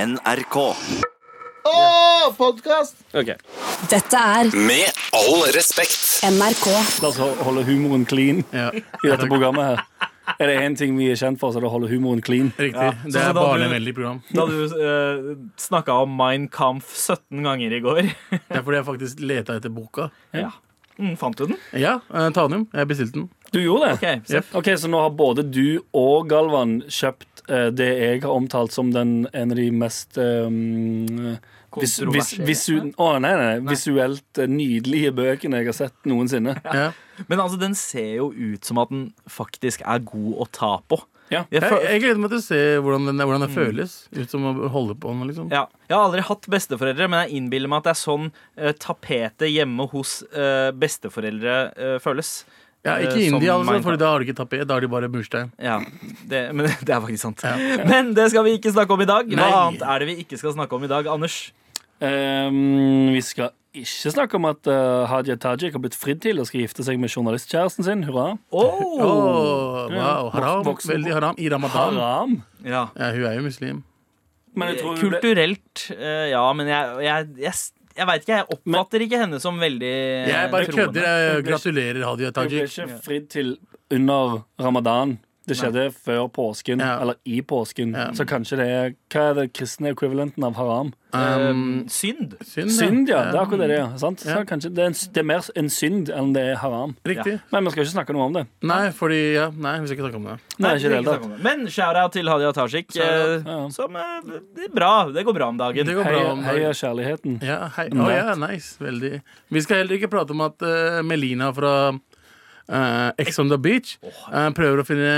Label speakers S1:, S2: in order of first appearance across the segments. S1: NRK.
S2: Åh, podkast!
S3: Ok,
S4: Dette er
S1: Med all respekt.
S4: NRK.
S3: La oss ho- holde humoren clean
S5: Ja.
S3: i dette programmet her. Er det én ting vi er kjent for, så er det å holde humoren clean.
S5: Riktig.
S6: Ja.
S5: Det
S6: Sånn
S5: er
S6: som da du-
S5: barnevennlig program.
S6: Da du uh, snakka om Mein Kampf 17 ganger i går.
S5: Det er fordi jeg faktisk leta etter boka.
S6: ja. Mm, fant du den?
S5: Ja, eh, Tanum. Jeg bestilte den.
S3: Du gjorde det?
S6: Ok, så-
S3: Yep. Ok, Så nå har både du og Galvan kjøpt eh, det jeg har omtalt som den, en av de mest um, vis, vis,
S6: Kontroversielle.
S3: visu, å, nei, nei, visuelt eh, nydelige bøkene jeg har sett noensinne.
S5: Ja.
S6: Men altså, den ser jo ut som at den faktisk er god å ta på.
S3: Ja.
S6: Jeg,
S5: Jeg,
S6: fø-
S5: jeg gleder meg til å se hvordan, den,
S6: Mm.
S5: hvordan det føles ut som å holde på den. liksom
S6: ja. jeg har aldri hatt besteforeldre, men jeg innbiller meg at det er sånn eh, tapetet hjemme hos eh, besteforeldre eh, føles.
S5: Ja,
S6: Eh,
S5: Ikke i
S6: som
S5: India, altså,
S6: Minecraft.
S5: for da har de ikke tapet. Da har de bare murstein.
S6: Ja, det, men det er faktisk sant. Men det skal vi ikke snakke om i dag. Hva
S5: Nei.
S6: annet er det vi ikke skal snakke om i dag, Anders?
S3: Ehm, vi skal ikke snakke om at eh, Hadia Tajik har blitt fridd til og skal gifte seg med journalistkjæresten sin. Hurra.
S6: Oh.
S5: Åh, wow, haram.
S3: Voksen-
S5: Veldig haram. I ramadan.
S3: Haram.
S6: Ja.
S5: Ja, hun er jo muslim.
S3: Men jeg tror hun ble,
S6: Kulturelt, eh, ja, men jeg, jeg, jeg, jeg veit ikke. Jeg oppfatter ikke henne som veldig eh,
S5: Jeg bare
S6: troende.
S5: kødder. Jeg gratulerer, Hadia
S3: hun ble
S5: Tajik.
S3: ikke fridd til under ramadan. Det skjedde før påsken,
S5: Ja.
S3: eller i påsken. Så kanskje det er Hva er det kristne ekvivalenten av haram?
S5: Um,
S6: Eh, synd.
S5: synd,
S3: Synd, ja.
S5: Ja.
S3: Det er akkurat det det er. Sant? Så
S5: Ja.
S3: kanskje det er, en, det er mer en synd enn det er haram.
S5: Riktig.
S3: Men vi skal ikke snakke noe om det.
S5: Nei, fordi ja, Nei, vi skal ikke snakke om det.
S3: Nei,
S6: Nei,
S3: ikke i det
S6: vi
S3: hele
S6: snakke
S3: tatt.
S6: om det. Men shout-out til Hadia Tajik, eh,
S3: Ja, ja.
S6: som eh, det er bra. Det går bra om dagen.
S5: Det går bra
S3: Heia,
S5: om
S3: heia
S5: dagen.
S3: kjærligheten.
S5: Ja, hei. Å ja, nice. Veldig. Vi skal heller ikke prate om at eh, Melina fra eh, Ex on the Beach eh, prøver å finne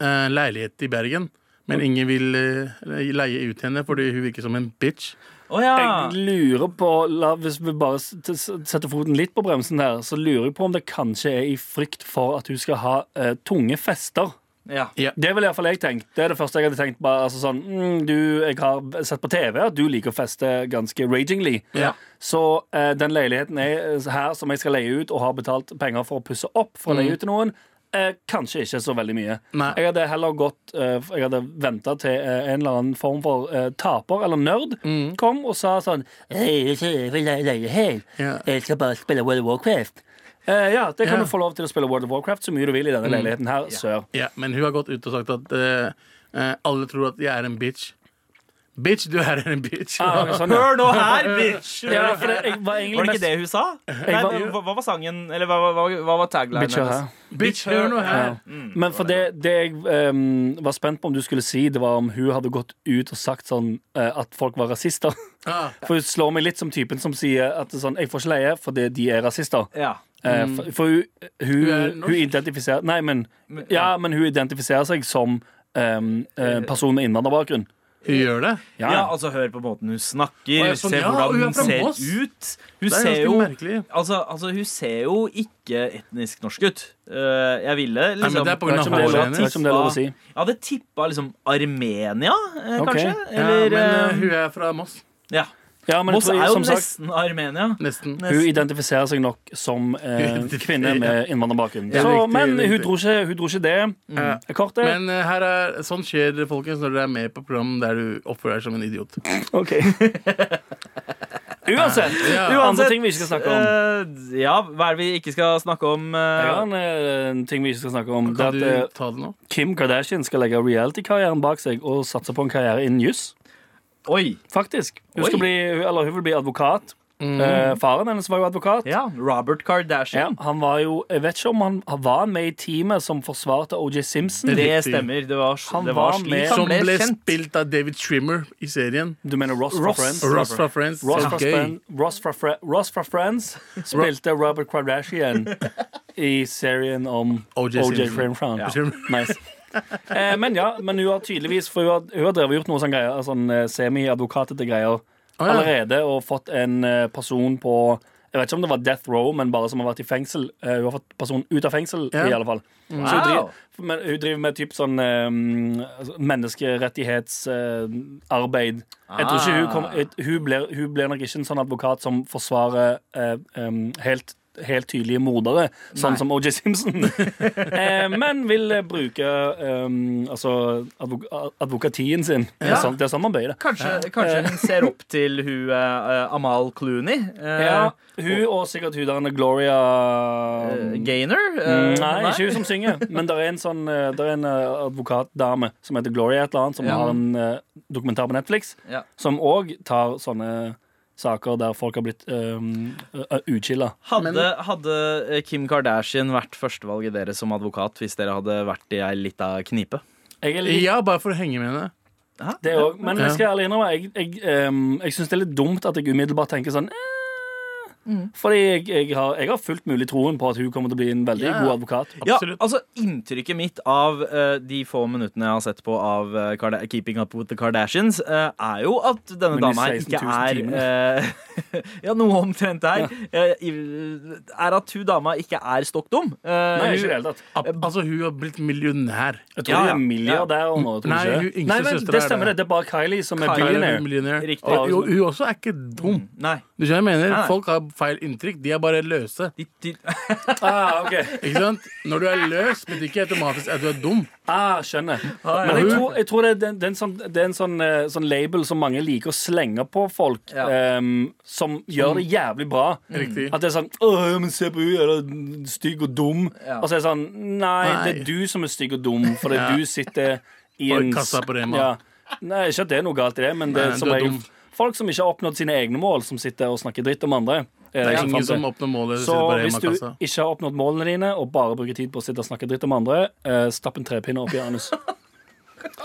S5: eh, leilighet i Bergen. Men ingen vil eh, leie ut henne fordi hun virker som en bitch.
S6: Å ja.
S3: Jeg lurer på, la, Hvis vi bare s- t- s- setter foten litt på bremsen her, så lurer jeg på om det kanskje er i frykt for at hun skal ha eh, tunge fester.
S6: ja.
S3: Det ville iallfall jeg tenkt. Det er det første jeg hadde tenkt. Bare, altså sånn, mm, du, jeg har sett på TV at du liker å feste ganske ragingly.
S5: Ja.
S3: Så eh, den leiligheten jeg, her som jeg skal leie ut, og har betalt penger for å pusse opp for å leie ut til noen, eh, kanskje ikke så veldig mye.
S5: Nei.
S3: Jeg hadde heller gått eh, Jeg hadde venta til eh, en eller annen form for eh, taper eller nerd kom og sa sånn «Hei, jeg skal leie leie her.
S5: Ja.
S3: Jeg skal bare spille World of Warcraft. Eh, ja, det kan
S5: Ja.
S3: du få lov til å spille World of Warcraft så mye du vil i denne leiligheten her sør.
S5: Ja, men hun har gått ut og sagt at eh, eh, alle tror at jeg er en bitch. Bitch, du er en bitch.
S3: Ah, ok, sånn, ja.
S6: Hør nå her, bitch!
S3: Ja, for det, jeg var egentlig
S6: Var det
S3: mest
S6: ikke det hun sa? Nei,
S3: var-
S6: hva, hva var sangen? Eller hva, hva, hva var taglinen
S3: Bitch, ja.
S6: hennes?
S5: bitch, hør nå her.
S3: Men for det, det jeg ehm, var spent på om du skulle si, det var om hun hadde gått ut og sagt sånn eh, at folk var rasister.
S5: Ah,
S3: For hun slår meg litt som typen som sier at det er sånn, jeg får ikke leie fordi de er rasister.
S6: Ja.
S3: Eh, for for hun, hun,
S5: er
S3: hun
S5: norsk.
S3: identifiserer Nei, men, ja, men hun identifiserer seg som ehm, eh, person med innvandrerbakgrunn.
S5: hun gjør det?
S3: Ja.
S6: Ja. altså Hør på måten hun snakker,
S5: Å, ja, sånn,
S6: se
S5: ja, hun
S6: hvordan
S5: er
S6: hun
S5: fra
S6: ser
S5: Moss.
S6: ut. Hun
S5: Det er
S6: ser
S5: ganske
S6: jo
S5: merkelig.
S6: Altså, altså, hun ser jo ikke etnisk norsk ut. Eh, jeg ville liksom
S5: Nei, men det er på
S3: Jeg
S5: grunn
S3: vet
S5: av
S3: ikke om det er lov- jeg
S5: håret hennes.
S3: vet ikke om det er lov å si.
S6: Jeg hadde tippa liksom Armenia, eh,
S3: Ok.
S6: kanskje.
S5: Ja,
S6: Eller
S5: men
S6: ja,
S5: eh, hun er fra Moss.
S6: ja.
S3: Ja, men jeg
S6: Moss
S3: tror,
S6: er jo
S3: som sagt,
S6: nesten Armenia.
S5: Nesten.
S3: hun identifiserer seg nok som eh,
S5: Identifiserer-
S3: kvinne med innvandrerbakgrunn.
S5: Ja,
S3: Så,
S5: riktig,
S3: men hun
S5: riktig.
S3: dro ikke, hun dro ikke det
S5: Ja.
S3: kortet.
S5: Men eh, her er, sånn skjer det, folkens, når dere er med på program der du oppfører deg som en idiot.
S3: Ok Uansett, andre ting vi ikke skal snakke om
S6: eh, ja, hva er det vi ikke skal snakke om? eh,
S3: Jeg har en, eh, en ting vi ikke skal snakke om Det
S5: Kan
S3: er
S5: du
S3: at eh,
S5: ta det nå?
S3: Kim Kardashian skal legge reality-karrieren bak seg Og satse på en karriere innen juss
S6: Oi.
S3: Faktisk Hun,
S6: Oi.
S3: skal bli, eller, hun vil bli advokat Eh, Faren hennes var jo advokat
S6: Ja, Robert
S3: Ja,
S6: Kardashian.
S3: han var jo, jeg vet ikke om han Var han med i teamet som forsvarte O.J. Simpson
S6: Det
S5: Riktig.
S6: stemmer. Det var,
S3: Han
S6: det var
S3: var
S6: slik
S3: med-
S6: han
S5: Som
S6: ble
S5: ble
S6: kjent.
S5: spilt av David Trimmer i serien.
S3: Du mener Ross, fra
S6: Ross.
S3: Friends
S5: Ross fra Friends.
S3: Ross
S5: Så
S3: fra,
S5: gøy.
S3: Fren- Ross, fra Fre Ross fra Friends spilte Robert Kardashian i serien om
S5: O.J.
S3: OJ
S5: Simpson.
S3: Fremfrown.
S5: Ja.
S3: Nice. Eh, men ja, men hun har tydeligvis For hun har, hun har drevet og gjort noe sånn greier, sånn eh, semi-advokatete greier
S5: ja.
S3: allerede, og fått en eh, person på jeg vet ikke om det var death row, men bare som har vært i fengsel. Eh, hun har fått personen ut av fengsel,
S5: Ja.
S3: i alle fall. Så hun
S6: Wow.
S3: driver, men hun driver med typ sånn altså menneskerettighetsarbeid. jeg tror ikke hun kom, jeg, hun, blir, hun blir nok ikke en sånn advokat som forsvarer eh, em, helt helt tydelige mordere, sånn som OJ Simpson. eh, men vil eh, bruke eh, altså advok advokatien sin. Det, er sånn, det er sånn man bøyer det.
S6: Kanskje, kanskje
S3: Eh.
S6: hun ser opp til hun eh, Amal Clooney. eh,
S3: Ja, hun og sikkert hun der Gloria
S6: eh, Gaynor? eh,
S3: Mm, Nei, ikke hun som synger, men det er en sånn eh, Der er en eh, advokatdame som heter Gloria et eller annet, som
S6: Ja.
S3: har en eh, dokumentar på Netflix,
S6: Ja.
S3: som òg tar sånne saker der folk har blitt um, utskilla.
S6: Hadde, hadde eh, Kim Kardashian vært førstevalget deres som advokat hvis dere hadde vært i ei lita knipe?
S3: Jeg er litt
S5: Ja, bare for å henge med henne.
S3: Det òg. Men jeg skal ærlig innrømme jeg, jeg, ehm, jeg syns det er litt dumt at jeg umiddelbart tenker sånn eh, Fordi jeg, jeg, har, jeg har fullt mulig troen på at hun kommer til å bli en veldig
S5: Ja.
S3: god advokat.
S6: Ja,
S5: Absolutt.
S6: altså Inntrykket mitt av eh, de få minuttene jeg har sett på av eh, Karda- Keeping Up With The Kardashians, eh, er jo at denne
S3: Men de
S6: dama her
S3: 16
S6: ikke
S3: 000
S6: er eh, Ja, noe omtrent der. eh, i- er at hun dama ikke er stokk dum. Eh,
S3: Nei, ikke i
S6: hun-
S3: det hele tatt.
S5: Ab- Altså, hun har blitt millionær.
S3: Jeg tror
S6: Ja, ja.
S3: de er milliardærer nå. tror du
S5: Nei,
S3: ikke
S5: hun
S3: det?
S5: yngste
S3: Nei, men
S5: søster
S3: det
S5: er
S3: stemmer,
S5: det.
S3: det. Det er bare Kylie som er
S5: Hun
S3: billionaire.
S5: er millionær.
S6: Riktig.
S5: Og jo, hun også er ikke
S3: Mm.
S5: dum.
S6: Nei.
S5: Du skjønner hva jeg mener?
S6: Nei.
S5: Folk har feil inntrykk. De er bare løse.
S6: De, de,
S3: Ah, ok.
S5: Ikke sant? Når du er løs, betyr ikke automatisk at du er dum.
S3: ah, skjønner. Men jeg tror, jeg tror det, er, den- den sånn, det er en sånn, eh, sånn label som mange liker å slenge på folk,
S6: Ja.
S3: ehm, som gjør det jævlig bra.
S5: Mm. Riktig.
S3: At det er sånn Åh, ja, men se på hun, er det stygg og dum?
S6: Ja.
S3: Og så er det sånn Nei, det
S5: Nei.
S3: er du som er stygg og dum, fordi
S5: Ja.
S3: du sitter i
S5: Og i
S3: en
S5: kassa på Rema.
S3: Ja. Nei, ikke at det er noe galt i det, men det
S5: Nei,
S3: er som
S5: du er
S3: regel
S5: dum.
S3: folk som ikke har oppnådd sine egne mål, som sitter og snakker dritt om andre. er jeg
S5: Det er
S3: som
S5: ingen
S3: fant
S5: som
S3: til.
S5: oppnår målet.
S3: Så
S5: Så bare
S3: hvis
S5: hjemme
S3: du
S5: av kassa.
S3: ikke har oppnådd målene dine, og bare bruker tid på å sitte og snakke dritt om andre, eh, stapp en trepinne opp i anus.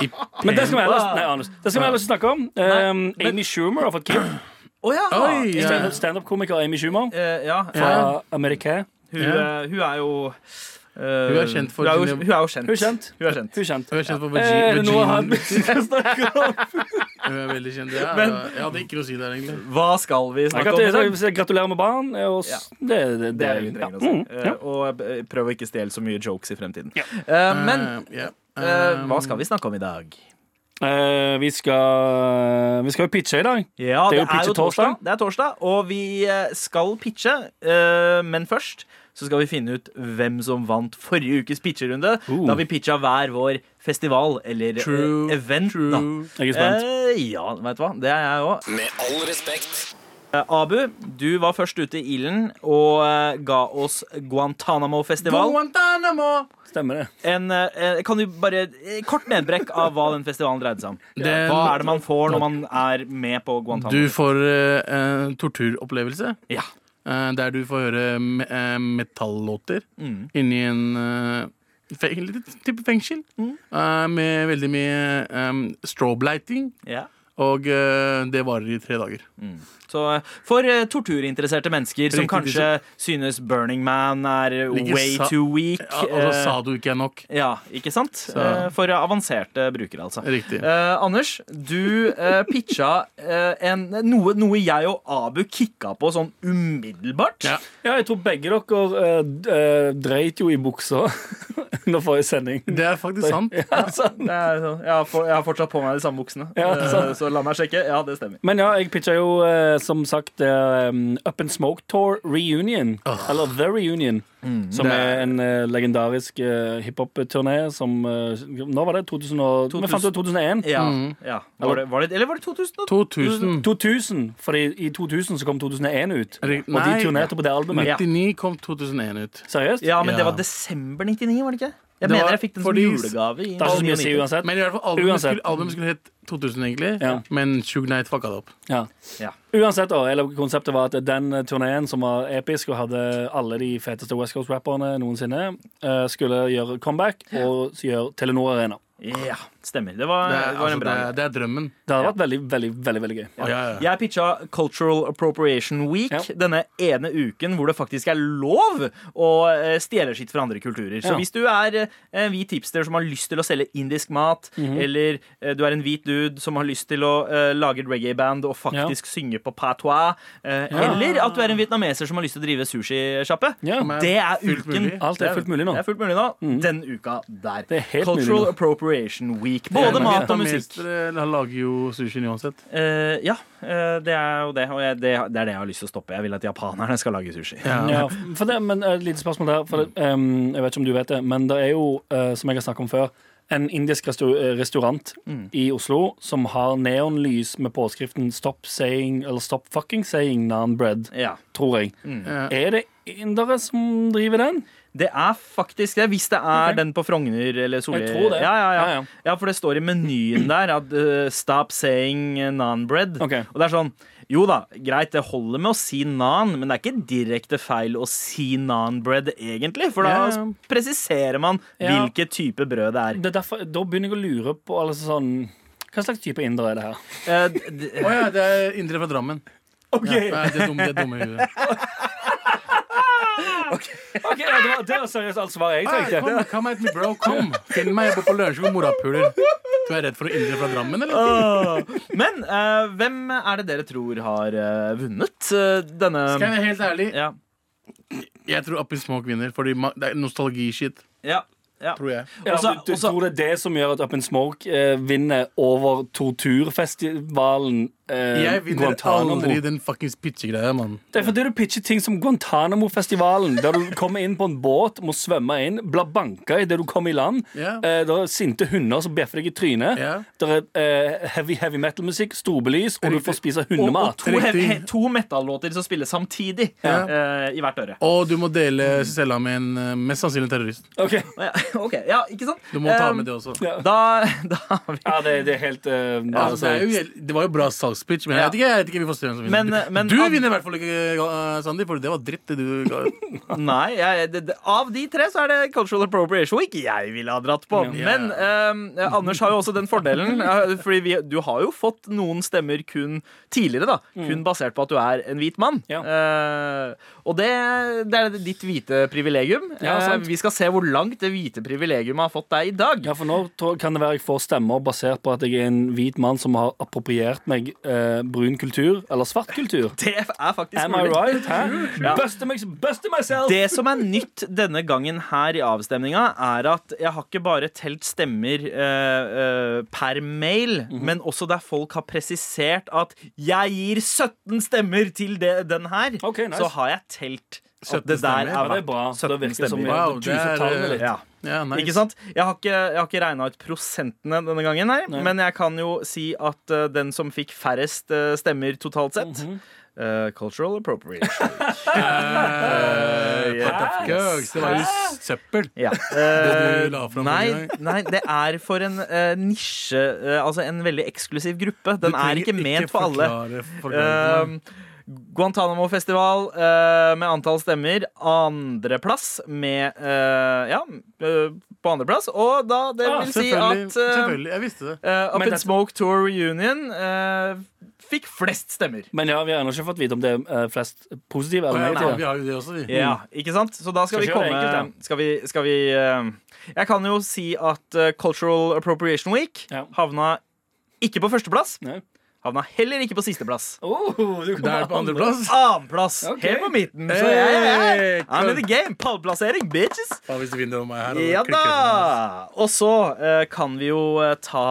S5: I
S3: Men det skal vi ellers,
S6: Wow.
S3: nei, anus. Det skal vi ellers snakke om. Um, Amy Schumer har fått kid.
S6: Å ja!
S5: Oi, ja.
S3: Stand- Standup-komiker Amy Schumer
S6: Eh, ja.
S3: fra America.
S6: Hun,
S5: Ja.
S6: eh, hun er jo eh,
S5: Hun er kjent for
S6: hun er, jo,
S5: sine-
S6: hun er jo kjent.
S3: Hun er kjent.
S6: Hun er kjent.
S3: Hun er kjent. Eh,
S5: Hun er kjent for
S6: Eh,
S3: Er det noe han
S5: vagin.
S3: skal snakke om?
S5: Hun er veldig kjent. Ja,
S6: Men-
S5: jeg hadde ikke noe å si der, egentlig.
S6: Hva skal vi
S3: Jeg
S6: snakke om? i dag?
S3: gratulerer, jeg gratulerer med barn. Og s-
S6: Ja.
S3: det, det,
S6: Det
S3: det,
S6: er det vi
S3: ja.
S6: trenger å si.
S3: Mm,
S6: Eh,
S3: ja.
S6: Og eh, prøv å ikke stjele så mye jokes i fremtiden. Eh, men
S5: Eh, ja.
S6: eh,
S5: Eh,
S6: hva skal vi snakke om i dag?
S3: Eh, vi, skal, vi skal jo pitche i dag.
S6: Ja,
S3: Det er jo pitchetorsdag.
S6: Det er torsdag, og vi eh, skal pitche. eh, men først så skal vi finne ut hvem som vant forrige ukes pitcherunde.
S3: Uh.
S6: Da vi pitcha hver vår festival eller eh,
S5: True,
S6: event. Da.
S5: True.
S3: Jeg er spent.
S6: Eh, ja, vet du hva. Det er jeg òg.
S1: Med all respekt.
S6: Abu, du var først ute i ilden og eh, ga oss Guantánamo-festival.
S5: Guantanamo!
S3: Stemmer det.
S6: en, eh, kan du bare eh, Kort nedbrekk av hva den festivalen dreide seg om.
S5: Den-
S6: hva er det man får når man er med på Guantánamo?
S5: Du får eh, en torturopplevelse.
S6: Ja.
S5: eh, der du får høre me eh, metallåter
S6: Mm,
S5: inni en eh, fe litt type fengsel.
S6: Mm.
S5: eh, med veldig mye eh, strobe lighting.
S6: ja.
S5: Og eh, det varer i tre dager.
S6: Så eh, for eh, torturinteresserte mennesker som
S5: Riktig,
S6: kanskje synes Burning Man er eh,
S5: Ligger
S6: way
S5: sa-
S6: too weak
S5: Ja, altså
S6: eh,
S5: sa du ikke er nok.
S6: ja, ikke sant? Eh, For eh, avanserte brukere, altså.
S5: Riktig.
S6: Eh, Anders, du eh, pitcha eh, en, noe, noe jeg og Abu kicka på sånn umiddelbart.
S5: Ja.
S3: Ja, jeg tror begge dere eh, d- eh, dreit jo i buksa under forrige sending.
S5: Det er faktisk sant.
S6: Det er sånn, jeg, har for, jeg har fortsatt på meg de samme buksene.
S3: Ja,
S6: Eh, Så la meg sjekke. Ja, det stemmer.
S3: Men ja, jeg pitcha jo eh, som sagt eh, Up and Smoke Tour Reunion. Eller The Reunion. som er en eh, legendarisk eh, hiphop-turné som eh, Nå var det 2000 og, Vi fant ut 2001.
S6: Ja,
S5: Mm.
S6: ja. Var det, var det, eller var det 2002?
S5: 2000.
S3: 2000, fordi i 2000 så kom 2001 ut.
S5: Rik-
S3: Og
S5: nei.
S3: de turnerte på det albumet.
S6: Ja.
S5: 99 kom 2001 ut.
S3: Seriøst?
S6: Ja, men det
S5: Ja.
S6: var desember 99, var det ikke? Jeg
S5: Det
S6: mener
S5: var
S6: jeg fikk den som
S5: fordi-
S6: julegave. i
S3: Det er ikke så mye å si
S6: 99.
S3: uansett.
S5: Men i hvert fall albumet
S3: Uansett.
S5: skulle, albumet skulle hett 2000, egentlig.
S3: Ja.
S5: Men Shug Knight fucka det opp.
S3: Ja.
S6: Ja.
S3: Uansett, da, eller konseptet var at den turneen som var episk og hadde alle de feteste West Coast-rapperne noensinne, eh, skulle gjøre comeback og gjøre Telenor Arena.
S6: Ja, stemmer. Det var,
S5: Det
S6: det
S5: er,
S6: var
S5: altså,
S6: en
S5: det
S6: bra
S5: er, det er drømmen.
S3: Det hadde vært veldig, veldig, veldig, veldig gøy.
S5: Å, ja, ja.
S6: Jeg pitcha Cultural Appropriation Week
S3: Ja.
S6: denne ene uken hvor det faktisk er lov å eh, stjele skitt fra andre kulturer. Så
S3: Ja.
S6: hvis du er eh, en hvit hipster som har lyst til å selge indisk mat, eller eh, du er en hvit dude som har lyst til å eh, lage et reggae-band og faktisk synge på patois, eh, eller at du er en vietnameser som har lyst til å drive sushisjappe,
S3: Ja.
S6: det er
S5: Fullt
S6: uken.
S5: mulig.
S3: Alt er fullt mulig nå.
S6: Det er fullt mulig nå. Den uka der.
S3: Det er helt mulig
S6: Cultural
S3: nå.
S6: Appropriation Week. rik. Både mat og musikk.
S5: Vietnamesere lager jo sushien uansett.
S6: Eh, ja, eh, det er jo det. Og jeg, det, det er det jeg har lyst til å stoppe. Jeg vil at japanerne skal lage sushi.
S3: Ja, for det, men Et lite spørsmål der. For det, em, jeg vet ikke om du vet det, men det er jo, eh, som jeg har snakket om før, en indisk restau- eh, restaurant i Oslo som har neonlys med påskriften 'Stop saying' eller 'Stop fucking saying nan bread',
S6: Ja.
S3: tror jeg.
S5: Ja.
S3: Er det indere som driver den?
S6: Det er faktisk det, hvis det er den på Frogner eller Solli.
S3: Jeg tror det.
S6: Ja, ja, ja.
S3: Ja, ja.
S6: ja, for det står i menyen der at eh, 'stop saying non-bread'.
S3: Ok.
S6: Og det er sånn Jo da, greit, det holder med å si nan, men det er ikke direkte feil å si non-bread, egentlig. For da
S5: Ja.
S6: presiserer man
S3: Ja.
S6: hvilken type brød det er.
S3: Det er derfor, da begynner jeg å lure på altså, sånn, Hva slags type indere er det her?
S6: Eh, d- d-
S5: Å ja, det er indre fra Drammen. Ja, nei, det er dumme, det er dumme i huet.
S3: Ok, ja, det, var, det var seriøst alt svaret jeg
S5: Hey,
S3: tenkte.
S5: Kom, come at me, bro. Kom. Finn meg jeg bor på Lørenskog morapuler. Du er redd for noe indre fra Drammen, eller?
S6: Ah. Men eh, hvem er det dere tror har eh, vunnet eh, denne
S5: Skal jeg være helt ærlig?
S6: ja.
S5: Jeg tror Up in Smoke vinner, fordi ma- det er nostalgishit,
S6: ja. Ja.
S5: tror jeg.
S3: Ja,
S6: Også-
S3: du, du
S6: også-
S3: tror det er det som gjør at Up in Smoke eh, vinner over torturfestivalen eh,
S5: Jeg vinner
S3: Guantánamo?
S5: aldri den fuckings pitchegreia, mann.
S3: Det er fordi du pitcher ting som Guantánamo-festivalen, der du kommer inn på en båt, må svømme inn, blir banka idet du kommer i land.
S5: Ja.
S3: Eh, det er sinte hunder som bjeffer deg i trynet.
S5: Ja.
S3: Det er eh, heavy heavy metal-musikk, storbelys, og du får spise
S6: Og, og
S3: hundemat.
S6: to, he
S5: Riktig.
S6: he to metallåter som spilles samtidig eh, i hvert øre.
S5: Og du må dele cella med en eh, mest sannsynlig terrorist.
S3: Ok.
S6: Ja, Ok, ja, ikke sant?
S5: Du må ta
S6: Um,
S5: med det også.
S3: Ja.
S6: Da, da har vi
S3: Ja, det, det er helt eh,
S5: Ja,
S3: altså,
S5: det, er jo, helt- det var jo bra salgspitch, men jeg
S6: Ja.
S5: vet ikke, jeg vet ikke vi får se hvem som vinner.
S6: Men, eh, men-
S5: du vinner i hvert fall ikke, eh, Sandeep, for det var dritt, det du ga ut.
S6: Nei, jeg, det, det, av de tre så er det cultural appropriation ikke jeg ville ha dratt på.
S5: Ja.
S6: Men ehm, eh, Anders har jo også den fordelen, eh, fordi vi, du har jo fått noen stemmer kun tidligere, da. Kun basert på at du er en hvit mann.
S3: Mm. Ja.
S6: Eh, og det, det er ditt hvite privilegium.
S3: Ja,
S6: Eh,
S3: sant.
S6: vi skal se hvor langt det hvite privilegiumet har fått deg i dag.
S3: Ja, for nå tror- kan det være jeg får stemmer basert på at jeg er en hvit mann som har appropriert meg eh, brun kultur, eller svart kultur.
S6: Det er faktisk
S3: Am I
S6: mulig.
S3: right? Hæ?
S6: Ja.
S3: Buster, meg, buster myself!
S6: Det som er nytt denne gangen her i avstemninga, er at jeg har ikke bare telt stemmer eh, eh, per mail,
S3: Mhm.
S6: men også der folk har presisert at 'jeg gir 17 stemmer til det, den her',
S3: Ok, nice.
S6: så har jeg telt at det
S5: 17
S6: der
S5: stemmer.
S6: er
S5: Ja,
S3: ja, det er bra. Så det
S6: 17
S3: virker som
S6: stemmer.
S3: vi
S5: Wow, det
S3: juicer
S5: er, eh,
S3: tallene litt.
S6: Ja.
S5: Ja, nice.
S6: Ikke sant? Jeg har ikke, jeg har ikke regna ut prosentene denne gangen, her, men jeg kan jo si at eh, den som fikk færrest eh, stemmer totalt sett
S3: Mhm.
S6: eh, Cultural appropriation.
S5: Eh,
S6: Ja.
S5: Gøks, det var jo søppel.
S6: Ja. Eh,
S5: Det du la fram
S6: nei,
S5: forrige gang.
S6: nei, det er for en eh, nisje eh, Altså en veldig eksklusiv gruppe. Den er ikke ment for alle.
S5: alle.
S6: Eh, Guantánamo-festival eh, med antall stemmer. Andreplass med eh, Ja, eh, på andreplass. Og da, det
S5: Ja,
S6: vil si
S5: Ah, selvfølgelig,
S6: at eh,
S5: selvfølgelig. Jeg visste det.
S6: eh, Up
S3: Men
S6: in
S3: dette-
S6: Smoke Tour Reunion eh, fikk flest stemmer.
S3: Men ja, vi har ennå ikke fått vite om det er eh, flest positive
S5: Å,
S3: eller
S5: ja, nei, vi
S3: negative.
S5: har jo det også, vi.
S6: Ja, ikke sant? Så da skal,
S3: Skal
S6: vi
S3: ikke gjøre
S6: komme
S3: det enkelt,
S6: Skal vi, skal vi eh, Jeg kan jo si at eh, Cultural Appropriation Week
S3: Ja.
S6: havna ikke på førsteplass.
S3: Nei.
S6: Havna heller ikke på sisteplass.
S3: Oh, du
S5: Det er på andreplass.
S6: Annenplass!
S3: Ok.
S6: Helt på midten. Så
S5: Hey,
S6: jeg, jeg, jeg, I'm
S5: cool.
S6: in the game. Pallplassering, bitches!
S5: Faen, Hvis du vinner over meg her og
S6: Ja
S5: klikker.
S6: da! Og så eh, kan vi jo eh, ta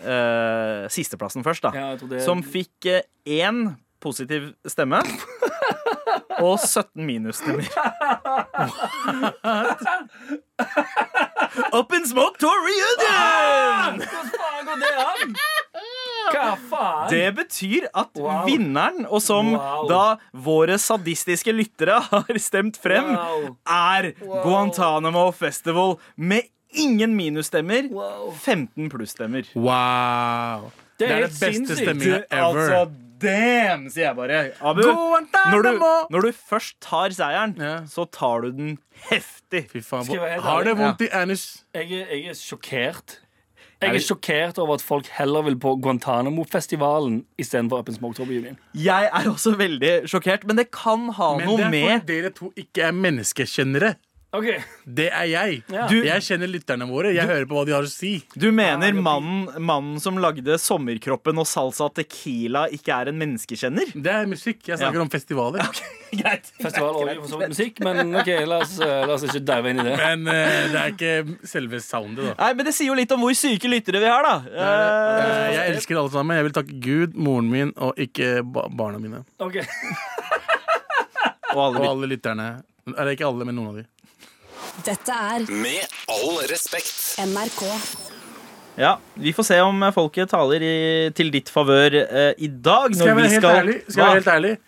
S6: eh, sisteplassen først, da.
S3: Ja, jeg tror det-
S6: Som fikk eh, én positiv stemme. Og 17 minusstemmer. Up in smoke tour reunion!
S3: Hvordan faen går det an? Hva faen?
S6: Det betyr at
S3: Wow.
S6: vinneren, og som
S3: Wow.
S6: da våre sadistiske lyttere har stemt frem,
S3: Wow.
S6: er Guantánamo Festival med ingen minusstemmer. 15 plusstemmer.
S5: Wow. Det er
S3: helt
S5: det beste
S3: sinnssykt.
S5: stemminga ever.
S6: Altså, damn, sier jeg bare. Abu, når du,
S5: Guantanamo!
S6: når du først tar seieren,
S5: Ja.
S6: så tar du den heftig.
S5: Fy faen,
S3: Skal jeg være helt
S5: Har det
S3: ærlig?
S5: vondt i anus?
S3: Jeg, er- jeg er sjokkert. Jeg
S6: Er
S3: er
S6: det-
S3: sjokkert over at folk heller vil på Guantánamo-festivalen istedenfor Up in Smoke Tour Reunion.
S6: Jeg er også veldig sjokkert, men det kan ha
S5: Men det
S6: noe
S5: er fordi
S6: med
S5: dere to ikke er menneskekjennere.
S3: OK.
S5: Det er jeg.
S3: Ja.
S5: Du, jeg kjenner lytterne våre. Jeg hører på hva de har å si.
S6: Du mener mannen, mannen som lagde sommerkroppen og salsa tequila, ikke er en menneskekjenner?
S5: Det er musikk. Jeg snakker
S6: Ja.
S5: om festivaler.
S6: Greit.
S3: Festival og for så vidt musikk, men OK, la oss, eh, la oss ikke dive inn i det.
S5: Men eh, det er ikke selve soundet, da.
S6: Nei, men Det sier jo litt om hvor syke lyttere vi har, da.
S5: Eh, Jeg elsker alle sammen. Jeg vil takke Gud, moren min og ikke ba barna mine.
S3: Ok.
S6: Eh, og alle
S5: Og
S6: lyt-
S5: alle lytterne. Eller ikke alle, men noen av de.
S4: Dette er
S1: Med all respekt.
S4: NRK.
S6: Ja, Vi får se om folket taler i, til ditt favør eh, i dag.
S5: Skal jeg
S6: når vi
S5: være helt
S6: skal-
S5: ærlig? Skal jeg, være
S6: Hva?
S5: helt ærlig?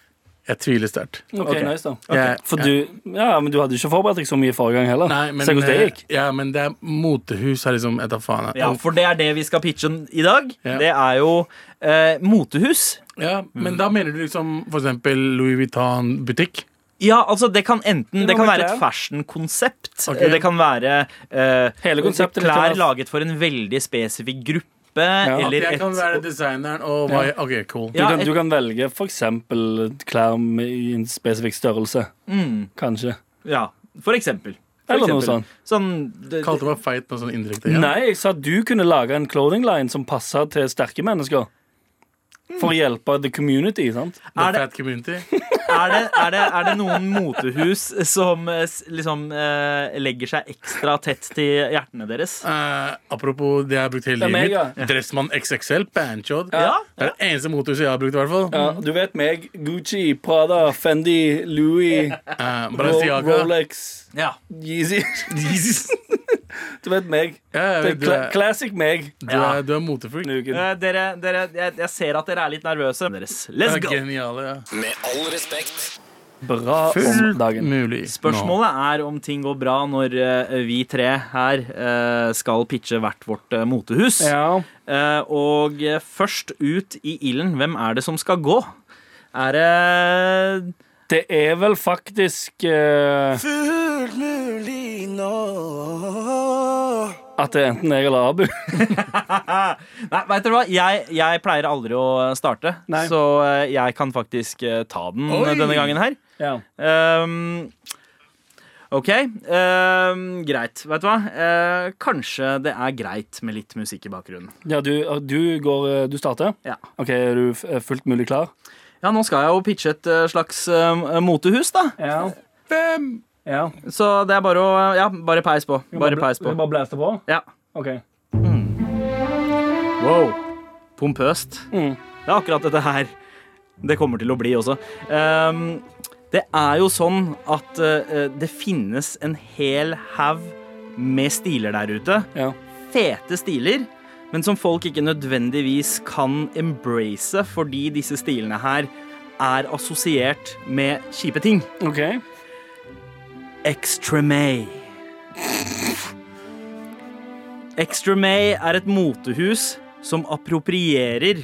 S5: jeg tviler sterkt.
S3: Ok, nice da
S5: Jeg-
S3: For du, ja, men du hadde ikke forberedt deg så mye forrige gang heller.
S5: Nei, men,
S3: Se hvordan det
S5: eh,
S3: gikk.
S5: ja, men det er motehus her, liksom. Jeg tar faen. jeg.
S6: Ja, For det er det vi skal pitche i dag.
S5: Ja.
S6: Det er jo eh, motehus.
S5: Ja,
S6: Mm.
S5: men da mener du liksom for eksempel Louis Vuitton-butikk?
S6: Ja, altså Det kan enten Det
S3: må
S6: kan
S3: være
S6: være et
S3: klær.
S6: fashion-konsept.
S5: Ok.
S6: Det kan være eh,
S3: Hele konseptet litt
S6: klær
S3: av-
S6: laget for en veldig spesifikk gruppe.
S5: At
S6: Eller
S5: jeg kan være
S6: et
S5: designeren og hva jeg, OK, cool.
S3: Du,
S6: Ja,
S3: kan,
S6: et-
S3: du kan velge for eksempel klær med- i en spesifikk størrelse. Kanskje.
S6: Ja, for eksempel. For
S3: Eller noe
S6: eksempel.
S3: sånn.
S6: sånn det,
S5: Kalte meg feit noe sånn indirekte. igjen.
S3: Nei, jeg sa at du kunne lage en clothing line som passet til sterke mennesker. For å hjelpe the community, sant?
S5: The
S6: Er det-
S5: fat community.
S6: er, det, er, det, er det noen motehus som eh, s- liksom eh, legger seg ekstra tett til hjertene deres?
S5: Eh, apropos det jeg har brukt hele
S3: Det er
S5: livet
S3: mega.
S5: mitt. Dressmann XXL, banchod.
S6: Ja.
S5: Det er det eneste motorhuset jeg har brukt, i hvert fall.
S3: Ja, du vet meg. Gucci, Prada, Fendi, Louis,
S5: Eh,
S3: Ro
S5: Balenciaga.
S3: Rolex,
S6: Ja.
S3: Yeezy. Du vet meg.
S5: Ja,
S3: Det er
S5: du,
S3: cla
S5: er,
S3: classic meg.
S5: du, er, du er motefreak.
S3: Denne uken.
S6: Eh, dere, dere, jeg, jeg ser at dere er litt nervøse. Deres. Let's
S5: Det
S6: go!
S5: er Geniale. Ja.
S1: Med all respekt.
S3: Bra om
S5: Fullt
S3: dagen.
S5: mulig.
S6: Spørsmålet er om ting går bra når eh, vi tre her eh, skal pitche hvert vårt eh, motehus.
S3: Ja.
S6: Eh, og eh, først ut i ilden, hvem er det som skal gå? Er det
S3: Det er vel faktisk eh,
S1: Fullt mulig nå.
S3: at det er enten jeg eller Abu.
S6: Nei, veit dere hva? Jeg, jeg pleier aldri å starte,
S3: Nei.
S6: så eh, jeg kan faktisk eh, ta den
S5: Oi!
S6: denne gangen her.
S3: Ja.
S6: Ehm, OK. ehm, greit. Vet du hva? Eh, kanskje det er greit med litt musikk i bakgrunnen.
S3: du, eh, du, går, du starter?
S6: Ja.
S3: OK, er du f- eh, fullt mulig klar?
S6: Ja, nå skal jeg jo pitche et eh, slags eh, motehus, da.
S3: Ja.
S5: Fem!
S3: ja.
S6: Så det er bare å Ja, bare peis på. Bare peis på.
S3: Bare blæste på?
S6: Ja.
S3: OK.
S6: Wow. Pompøst.
S3: Mm.
S6: Det er akkurat dette her det kommer til å bli også. Ehm, det er jo sånn at eh, det finnes en hel haug med stiler der ute.
S3: Ja.
S6: Fete stiler, men som folk ikke nødvendigvis kan embrace fordi disse stilene her er assosiert med kjipe ting.
S3: OK.
S6: Extremay. Extremay er et motehus som approprierer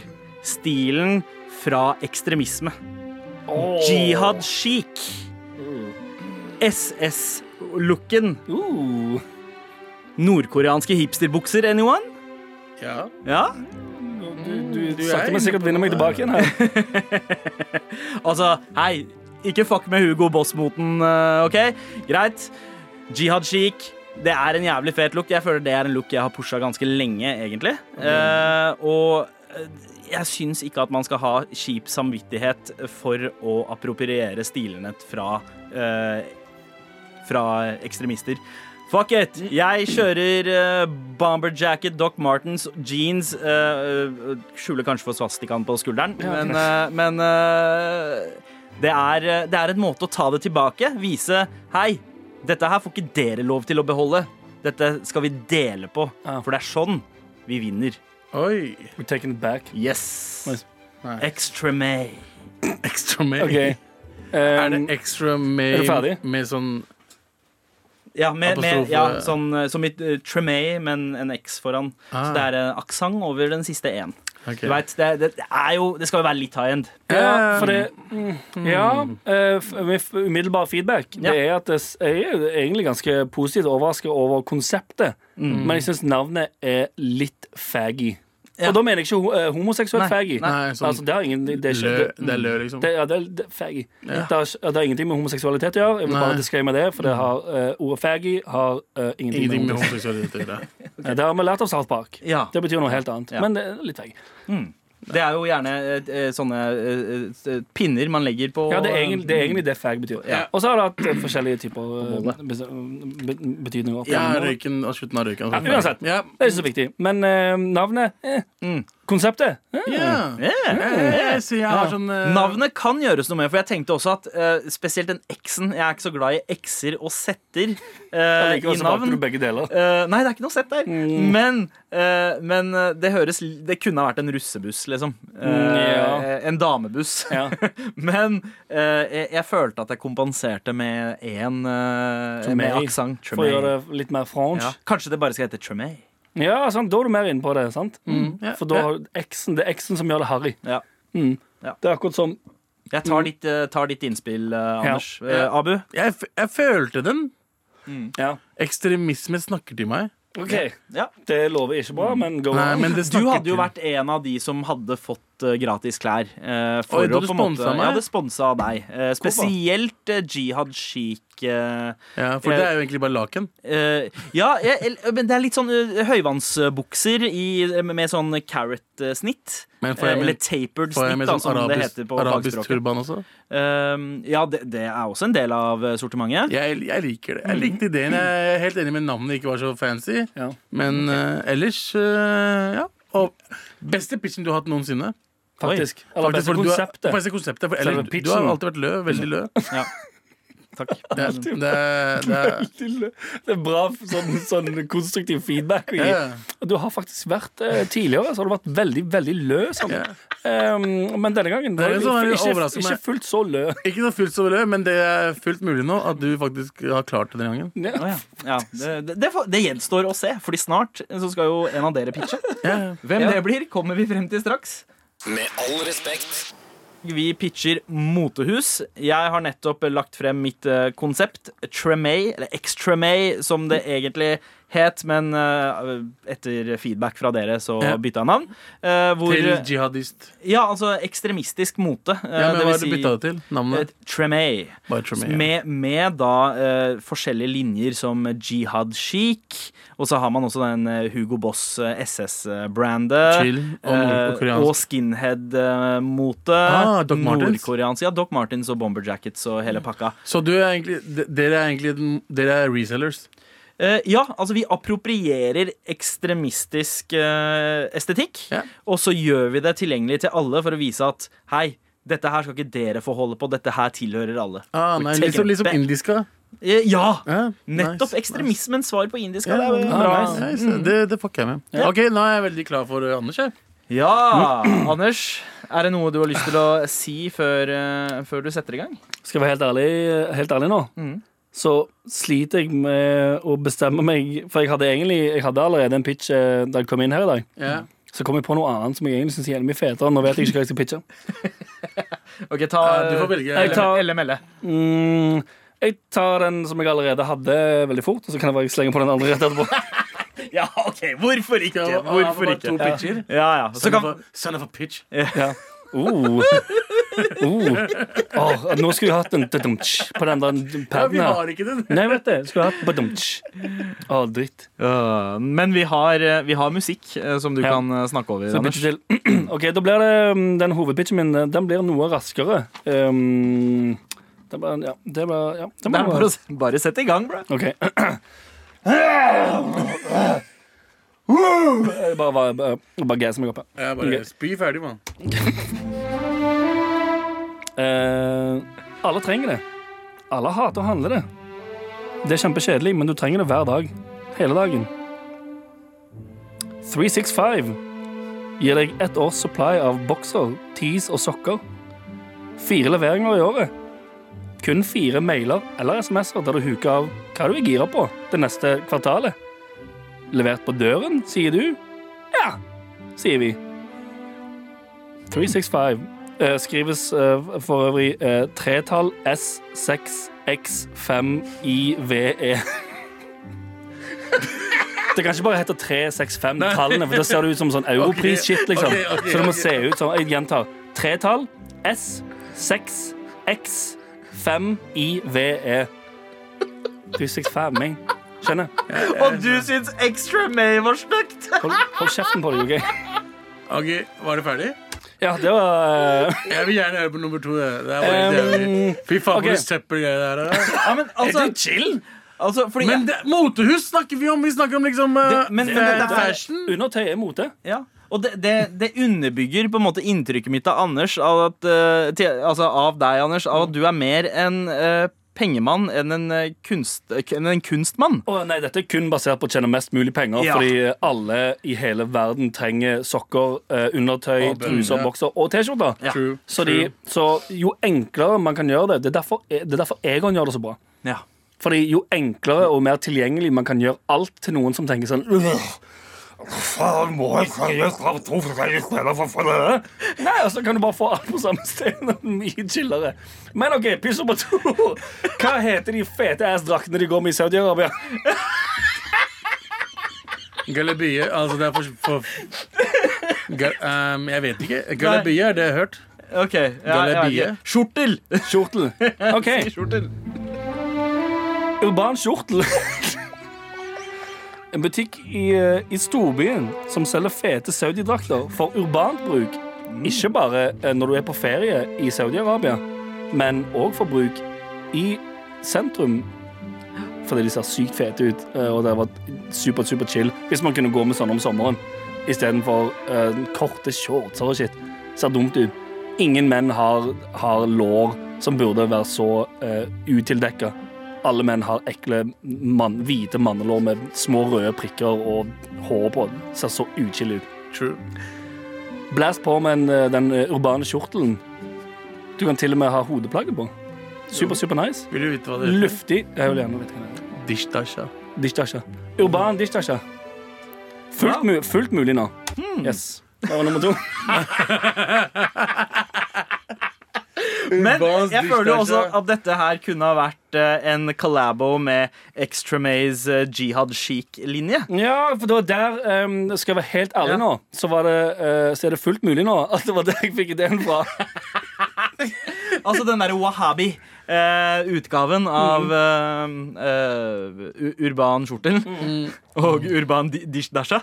S6: stilen fra ekstremisme. Jihad chic. SS-looken.
S3: Uh.
S6: Nordkoreanske hipsterbukser, anyone?
S5: Ja.
S6: Ja.
S3: Du, du, du
S5: er
S3: sakte,
S5: inne
S3: men sikkert
S5: på
S3: vinner meg
S5: det.
S3: tilbake igjen her.
S6: Altså, hei, ikke fuck med Hugo Boss-moten, eh, OK? Greit. Jihad chic. Det er en jævlig fet look. Jeg føler det er en look jeg har pusha ganske lenge, egentlig. Eh, og eh, jeg syns ikke at man skal ha kjip samvittighet for å appropriere stilene fra eh, fra ekstremister. Fuck it! Jeg kjører eh, bomberjacket, Doc Martens, jeans eh, eh, Skjuler kanskje for svastikaen på skulderen, men, eh, men eh, det, er, eh, det er en måte å ta det tilbake. Vise Hei, dette her får ikke dere lov til å beholde. Dette skal vi dele på,
S3: Ja.
S6: for det er sånn vi vinner.
S5: Oi.
S3: We're taking it back.
S6: Yes!
S3: Nice.
S5: Nei.
S6: Extra May.
S5: Extra made.
S3: OK.
S5: Er det
S3: Um,
S5: extra
S3: Er
S5: made
S3: du ferdig?
S5: med sånn
S6: Ja, med, med,
S5: Apostrofe.
S6: ja sånn, eh, som i eh, Tremay, men en X foran. Så
S5: Ah.
S6: det er en aksent over den siste én.
S5: Ok.
S6: Du vet, det, det, det er jo Det skal jo være litt high end.
S3: ja, for det mm, Ja, eh, f- med f- umiddelbar feedback.
S6: Ja.
S3: Det er at det s- jeg er egentlig ganske positivt overrasket over konseptet, men jeg syns navnet er litt faggy.
S6: Ja.
S3: Og da mener jeg ikke ho- eh, homoseksuell
S6: Nei,
S3: faggy.
S5: nei, sånn
S3: altså, det har ingen Det, det er
S5: Lø,
S3: ikke det,
S5: det er lø, liksom.
S3: det, ja, det, er- det, er faggy. Det, har, ikke- det har ingenting med homoseksualitet å gjøre. Jeg vil
S5: Nei.
S3: bare disclaime det, for det har, eh, ordet faggy har eh, ingenting,
S5: Ingenting med
S3: med homoseksualitet.
S5: homoseksualitet å gjøre.
S3: Det har vi lært av Salt Park.
S6: Ja.
S3: Det betyr noe helt annet.
S6: Ja.
S3: Men det er litt faggy.
S6: Det er jo gjerne eh, eh, sånne eh, eh, pinner man legger på Mm.
S3: Ja, det er egentlig det, er egentlig det fag betyr.
S6: Ja.
S3: Og så har det hatt eh, forskjellige typer eh, bes- be- betydninger. opp
S5: Ja,
S3: gjennom årene.
S5: røyken av slutten av røyken.
S3: Ja, uansett.
S5: Ja.
S3: Det er ikke så viktig. Men eh, navnet eh. Konseptet? Eh.
S5: Ja.
S6: Eh, eh.
S5: Jeg sier jeg har sånn eh,
S6: Navnet kan gjøres noe med, for jeg tenkte også at eh, spesielt den X-en Jeg er ikke så glad i X-er og Z-er eh, i
S3: Allikevel så valgte
S6: navn.
S3: du begge deler.
S6: Eh, nei, det er ikke noe sett der.
S3: Mm.
S6: Men, eh, men eh, det høres l- Det kunne ha vært en russebuss, liksom. Eh,
S3: Mm, ja.
S6: En damebuss.
S3: Ja.
S6: men eh, jeg, jeg følte at jeg kompenserte med én uh, med
S3: Tremay.
S6: aksent.
S3: For å gjøre det litt mer fransk.
S6: Ja. Kanskje det bare skal hete Tremay.
S3: Ja, sant, Da er du mer inne på det. sant? Mm.
S5: ja,
S3: For da har du X-en, det er X-en som gjør det harry.
S6: Ja.
S3: Mm.
S6: Ja.
S3: Det er akkurat som
S6: Jeg tar ditt, eh, tar ditt innspill, eh, Anders. Eh,
S5: Mm. Ja.
S6: Abu?
S5: jeg, f- jeg følte den.
S3: Ja.
S5: Ekstremisme snakker til meg.
S3: OK,
S6: Ja.
S3: det lover ikke bra, men go
S5: Nei,
S3: on.
S5: men det
S6: Du
S5: snakker
S6: hadde jo
S5: til-
S6: vært en av de som hadde fått eh, gratis klær. eh,
S5: Oi,
S6: for
S5: du
S6: å på en måte,
S5: sponset meg?
S6: Ja, det sponsa deg. Eh, spesielt eh, Jihad Sheik. eh,
S5: ja, For det er jo egentlig bare laken.
S6: eh, ja, jeg, el- men det er litt sånn eh, høyvannsbukser i, med sånn carrot-snitt.
S5: Men får jeg med-
S6: eh, Eller tapered
S5: Eh, Får jeg
S6: snitt,
S5: med
S6: da,
S5: sånn
S6: som det
S5: arabisk,
S6: heter på
S5: arabisk
S6: fagspråket.
S5: turban også?
S6: Eh, ja, det, det er også en del av eh, sortimentet.
S5: Jeg, jeg liker det. Jeg likte ideen. Jeg er helt enig med navnet ikke var så fancy.
S3: Ja.
S5: Men eh, ellers, eh, ja. Og beste pitchen du har hatt noensinne.
S3: Faktisk. Eller
S5: Faktisk,
S3: beste
S5: for du har-
S3: konseptet.
S5: faktisk konseptet for,
S3: Selve
S5: eller, du
S3: pitchen.
S5: har alltid vært lø. Veldig lø.
S6: Ja. Takk.
S5: Det, er- det, er- det, er-
S3: Lille. Det er bra sånn, sånn konstruktiv feedback. å gi.
S5: Ja.
S3: Du har faktisk vært eh, tidligere så har du vært veldig veldig lø. Sånn. Ehm, men denne gangen
S5: Det er en sånn
S3: ikke,
S5: overraskende-
S3: ikke fullt så lø.
S5: ikke så fullt så lø, men det er fullt mulig nå at du faktisk har klart det denne gangen.
S6: Å ja. Ja, det, det, det, får- det gjenstår å se, Fordi snart så skal jo en av dere pitche. Hvem det blir, kommer vi frem til straks.
S1: Med all respekt.
S6: Vi pitcher motehus. Jeg har nettopp lagt frem mitt eh, konsept. Tremay, eller X-Tremay, som det egentlig het, men eh, etter feedback fra dere så
S5: Ja.
S6: bytta jeg navn. Eh, hvor,
S5: Til jihadist.
S6: ja, altså ekstremistisk mote. eh,
S5: Ja,
S6: det
S5: men Hva
S6: vil
S5: har du bytta det til?
S6: eh,
S5: Navnet?
S6: Tremay.
S5: Bare Tremé.
S6: Med, med da eh, forskjellige linjer som Jihad Chic, og så har man også den eh, Hugo Boss SS-brandet.
S5: Chill og
S6: eh,
S5: nord- og koreansk.
S6: og skinhead-mote.
S5: Ah, Doc Martens.
S6: Nordkoreansk. Ja, Doc Martens og bomberjackets og hele pakka.
S5: Så du er egentlig, de- dere er egentlig den- dere er resellers?
S6: Eh, ja, altså vi approprierer ekstremistisk eh, estetikk,
S5: Ja.
S6: og så gjør vi det tilgjengelig til alle for å vise at hei, dette her skal ikke dere få holde på, dette her tilhører alle.
S5: Ah, nei,
S6: take
S5: liksom,
S6: it
S5: liksom
S6: back.
S5: indiska?
S6: Eh, ja!
S5: Ja,
S6: Nettopp
S5: nice,
S6: ekstremismens svar på indisk.
S5: Ja,
S6: Ja, det er jo
S5: ah,
S6: bra. Mm.
S5: nice, nice. Det, det fucker jeg med. Ok, Nå er jeg veldig klar for eh, Anders. Jeg.
S6: ja, Anders. Er det noe du har lyst til å si før, eh, før du setter i gang?
S3: Skal jeg være helt ærlig, helt ærlig nå,
S5: Mm.
S3: så sliter jeg med å bestemme meg. For jeg hadde egentlig Jeg hadde allerede en pitch eh, da jeg kom inn her i dag.
S5: Ja.
S3: Så kom jeg på noe annet som jeg egentlig syns er mye fetere. Nå vet jeg ikke hva jeg skal pitche.
S6: Ok, ta eh,
S5: du får velge.
S3: Jeg tar-
S6: LML.
S3: Mm, jeg tar den som jeg allerede hadde, veldig fort, og så kan jeg bare slenge på den andre rett etterpå.
S6: Ja, OK. Hvorfor ikke?
S5: Ja,
S6: Hvorfor
S5: bare
S6: ikke?
S5: To pitcher.
S6: Ja, ja. Så
S5: Son,
S6: kan,
S5: of a, son of a pitch.
S3: Ja. Uh. Uh. Åh, nå skulle jeg hatt en dudumtsj på den der
S5: Ja, vi
S3: paden her.
S5: har ikke den.
S3: Nei, vet du. Skulle jeg hatt badumtsj. Å, dritt.
S6: Øh, men vi har, eh, vi har musikk eh, som du
S3: Ja.
S6: kan eh, snakke over,
S3: Så
S6: Anders.
S3: pitcher til. Ok, da blir det mm, Den hovedpitchen min Den blir noe raskere. Um, det blir, ja, det blir, ja, det
S6: Det
S3: blir
S6: er bare, å s- bare sett i gang, bro.
S3: Ok. Jeg bare, bare, bare, bare gasser meg opp her.
S5: Jeg bare spy ferdig, mann.
S3: Eh, alle trenger det. Alle hater å handle det. Det er kjempekjedelig, men du trenger det hver dag. Hele dagen. 365 gir deg ett års supply av bokser, tees og sokker. Fire leveringer i året. Kun fire mailer eller SMS-er der du huker av hva du er gira på det neste kvartalet. Levert på døren, sier du? Ja, sier vi. 365 eh, skrives eh, for øvrig eh, tretall S6X5IVE. E. Det kan ikke bare hete 365 tallene, for da ser det ut som sånn europris-shit. liksom.
S5: Ok, ok,
S3: Så det må
S5: ok.
S3: se ut sånn. Jeg gjentar. Tretall. S, 6, X, 5, I, V, E. Du er 65-ing. Skjønner?
S6: Og du syns Extra May var stygt!
S3: Hold, hold kjeften på deg, OK?
S5: Ok, Var det ferdig?
S3: Ja, det var eh,
S5: Jeg vil gjerne høre på nummer to. Det, det er bare helt jævlig. Fy faen,
S3: ok.
S5: for noe søppel det der er. da.
S6: Ja, men altså,
S5: Er det chill?
S6: altså fordi
S5: Men det, motehus snakker vi om. Vi snakker om liksom eh,
S6: Det- men-
S5: fa-
S6: men det der-
S5: fashion.
S3: Undertøy er mote.
S6: Ja, og det, det, det underbygger på en måte inntrykket mitt av Anders, av, at, eh, til, altså av deg, Anders, av at du er mer en eh, pengemann enn en, eh, kunst, enn en kunstmann.
S3: Å nei, Dette er kun basert på å tjene mest mulig penger.
S6: Ja.
S3: Fordi alle i hele verden trenger sokker, eh, undertøy,
S5: Og bønner.
S3: truser, bokser og T-skjorter.
S6: Ja.
S5: True,
S3: Så, de,
S5: true.
S3: så jo enklere man kan gjøre det Det er derfor, det er derfor Egon gjør det så bra.
S6: Ja.
S3: Fordi jo enklere og mer tilgjengelig man kan gjøre alt til noen som tenker sånn «Åh, Faen, må jeg seriøst ha to forskjellige steder for å få det? der?» Nei, altså kan du bare få alt på samme sted. Det er Mye chillere. Men OK, piss på to. Hva heter de fete ass-draktene de går med i Saudi-Arabia?
S5: Galabie. Altså, det er for, for Ga- ehm, Jeg vet ikke. Galabie, er det jeg har hørt?
S6: Ok. Ja,
S5: Galabie.
S6: jeg vet ikke. Skjortel!
S3: Skjortel. OK. Urban skjortel. En butikk i, eh, i storbyen som selger fete saudidrakter for urbant bruk. Ikke bare eh, når du er på ferie i Saudi-Arabia, men òg for bruk i sentrum. Fordi de ser sykt fete ut, eh, og det har vært super, super chill hvis man kunne gå med sånne om sommeren istedenfor uh, korte shortser og shit. Ser dumt ut. Ingen menn har, har lår som burde være så uh, utildekka. Alle menn har ekle mann, hvite mannelår med små røde prikker og hår på. Ser så uchill ut.
S5: True.
S3: Blæs på med en, eh, den eh, urbane kjortelen. Du kan til og med ha hodeplagget på. Super, super nice.
S5: Vil du vite hva det heter?
S3: Luftig. Jeg vil gjerne vite hva det er.
S5: Dishtasha.
S3: Dishtasha. Urban dishtasha. Fullt, mu fullt mulig nå. Yes. Det var nummer to.
S6: Men
S5: Urbans
S6: jeg føler jo også
S5: dishwasher.
S6: at dette her kunne ha vært eh, en collabo med Extra Mays eh, Jihad Chic-linje.
S3: Ja, for det var der ehm, Skal jeg være helt ærlig
S6: Ja.
S3: nå, så, var det, eh, så er det fullt mulig nå at det var der jeg fikk ideen fra.
S6: Altså den derre wahabi-utgaven av
S5: Mm.
S6: eh, eh, u- urban skjortel og urban di- dishdasha.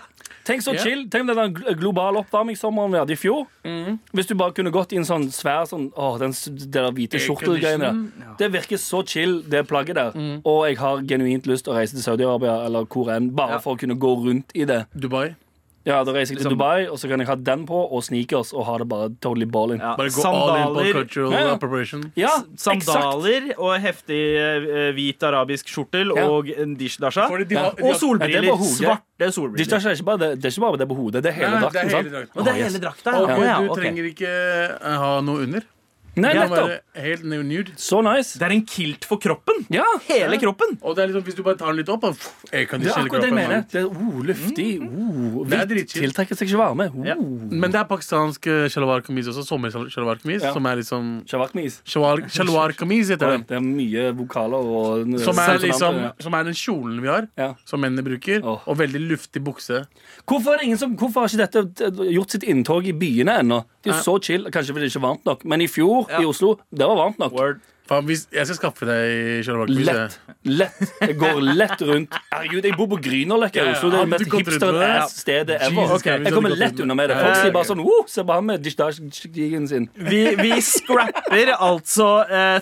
S3: Tenk så chill. Tenk den der globale oppvarmingssommeren vi hadde i fjor.
S6: Mm.
S3: Hvis du bare kunne gått i en sånn svær sånn Å, den, s- det der hvite skjortelgreiene. Det virker så chill, det plagget der.
S6: Mm.
S3: Og jeg har genuint lyst til å reise til Saudi-Arabia eller hvor enn, bare
S6: Ja.
S3: for å kunne gå rundt i det.
S5: Dubai.
S3: Ja, da reiser jeg til Dubai, og så kan jeg ha den på og sneakers og ha det bare totally ballin. Ja,
S6: Ja,
S5: Bare gå all in på
S6: sandaler,
S5: cultural
S3: Ja, ja.
S5: appropriation.
S3: exakt.
S6: sandaler og heftig eh, hvit arabisk skjortel
S3: Ja.
S6: og en dishdasha.
S5: Fordi de har- de
S6: Og
S5: har-
S3: Ja, det
S6: solbriller.
S3: er på hodet.
S6: Svarte
S3: Det er
S6: solbriller.
S3: ikke- det er ikke bare det, det er ikke bare det på hodet, det er hele
S5: Nei, det er
S3: drakten.
S5: hele
S3: sant?
S5: drakten.
S6: Og det
S3: Å,
S6: er
S3: yes.
S6: hele drakta.
S5: Og
S6: ja. Å, ja,
S5: du
S6: ok.
S5: trenger ikke eh, ha noe under.
S3: Nei,
S5: Du må
S3: nettopp.
S5: være helt nude.
S3: Så nice.
S6: Det er en kilt for kroppen.
S3: Ja,
S6: Hele kroppen.
S5: Og det er liksom, hvis du bare tar den litt opp og pff, jeg kan
S3: det er
S5: ikke skille
S3: akkurat det jeg
S5: kroppen,
S3: mener. Det er oh, luftig.
S6: Mm.
S3: Oh,
S5: Det er
S3: hvitt.
S5: dritchill.
S3: Tiltrekker seg ikke varme. Oh.
S6: Ja.
S5: men- Men det er pakistansk eh, shalwar kameez også. Sommer-shalwar kameez.
S3: Ja.
S5: Som er liksom
S3: Shawarma-is.
S5: Shalwar shalwar kameez heter det.
S3: Det er mye vokaler og
S5: Som er,
S3: Sånn,
S5: liksom,
S3: ja.
S5: som er den kjolen vi har,
S3: Ja.
S5: som mennene bruker.
S3: Åh.
S5: Og veldig luftig bukse.
S3: Hvorfor, er det ingen som, hvorfor har ikke dette eh, gjort sitt inntog i byene ennå? Det er jo så chill. Kanskje fordi det ikke er varmt nok. Men i fjor, i Oslo, det var varmt nok.
S5: Faen, hvis, jeg skal skaffe deg shalwar kameez.
S3: Lett. lett. Jeg går lett rundt. Herregud, jeg bor på Grünerløkka i
S5: Ja,
S3: Oslo. Det er det
S5: hadde
S3: mest
S5: du gått rundt med det?
S3: hipster-ass-stedet ever.
S5: Jesus Christ,
S3: Jeg kommer lett unna med det. Folk
S5: Ja,
S3: sier bare
S5: ok.
S3: sånn Wow, se på han med dishdashigen sin.
S6: Vi, vi scrapper altså eh,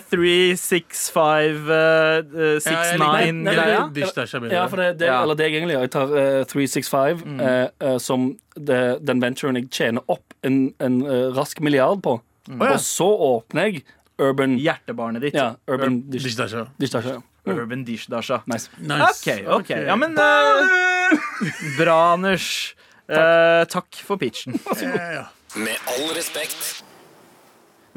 S6: 36569
S3: Nei, nei,
S6: eh, greia.
S3: nei.
S5: Dishdasha
S3: Ja, for det, det,
S6: Ja.
S3: eller det jeg egentlig gjør. Jeg tar eh, 365
S5: Mm.
S3: eh, eh, som det, den venturen jeg tjener opp en, en eh, rask milliard på.
S5: Mm. Å, ja.
S3: Og så åpner jeg Urban
S6: Hjertebarnet ditt.
S3: Ja, Urban dish-
S5: Dishdasha.
S3: Dishdasha.
S6: Urban dishdasha.
S3: Nice.
S5: Nice.
S6: OK, ok. Ja, men eh, Bra, Anders. Eh, takk for pitchen.
S5: Ja, ja.
S1: Med all respekt.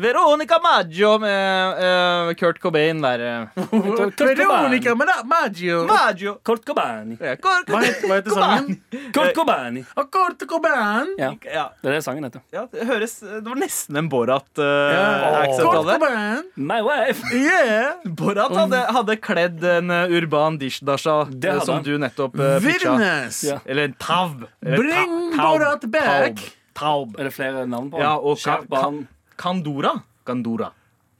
S6: Veronica Maggio med eh, Kurt Cobain der. eh.
S3: Kurt Cobain.
S5: Veronica Mara- Maggio.
S6: Maggio!
S3: Kurt Cobain.
S6: Ja, Kurt
S5: Hva het- hva heter sangen? Eh.
S3: Kurt Cobain.
S5: Akkorte Cobain.
S3: Ja,
S6: Ja,
S3: det er det sangen heter.
S6: ja, det høres Det var nesten en Borat. Uh,
S3: Eh,
S5: Ja.
S6: accent av
S5: Kurt
S6: det.
S5: Cobain.
S3: My wife.
S6: Yeah! Borat hadde, hadde kledd en eh, urban dishdasha
S3: Det hadde
S6: som
S3: han.
S6: du nettopp uh, pitcha.
S5: Virnes.
S3: Ja.
S6: Eller en tav. Eller
S5: Bring
S6: ta- taub.
S5: Borat back.
S6: Taub. taub.
S3: Er det flere navn på
S6: Ja, og
S3: Skjerp
S6: ka-
S3: han.
S6: Kandora. Kandora.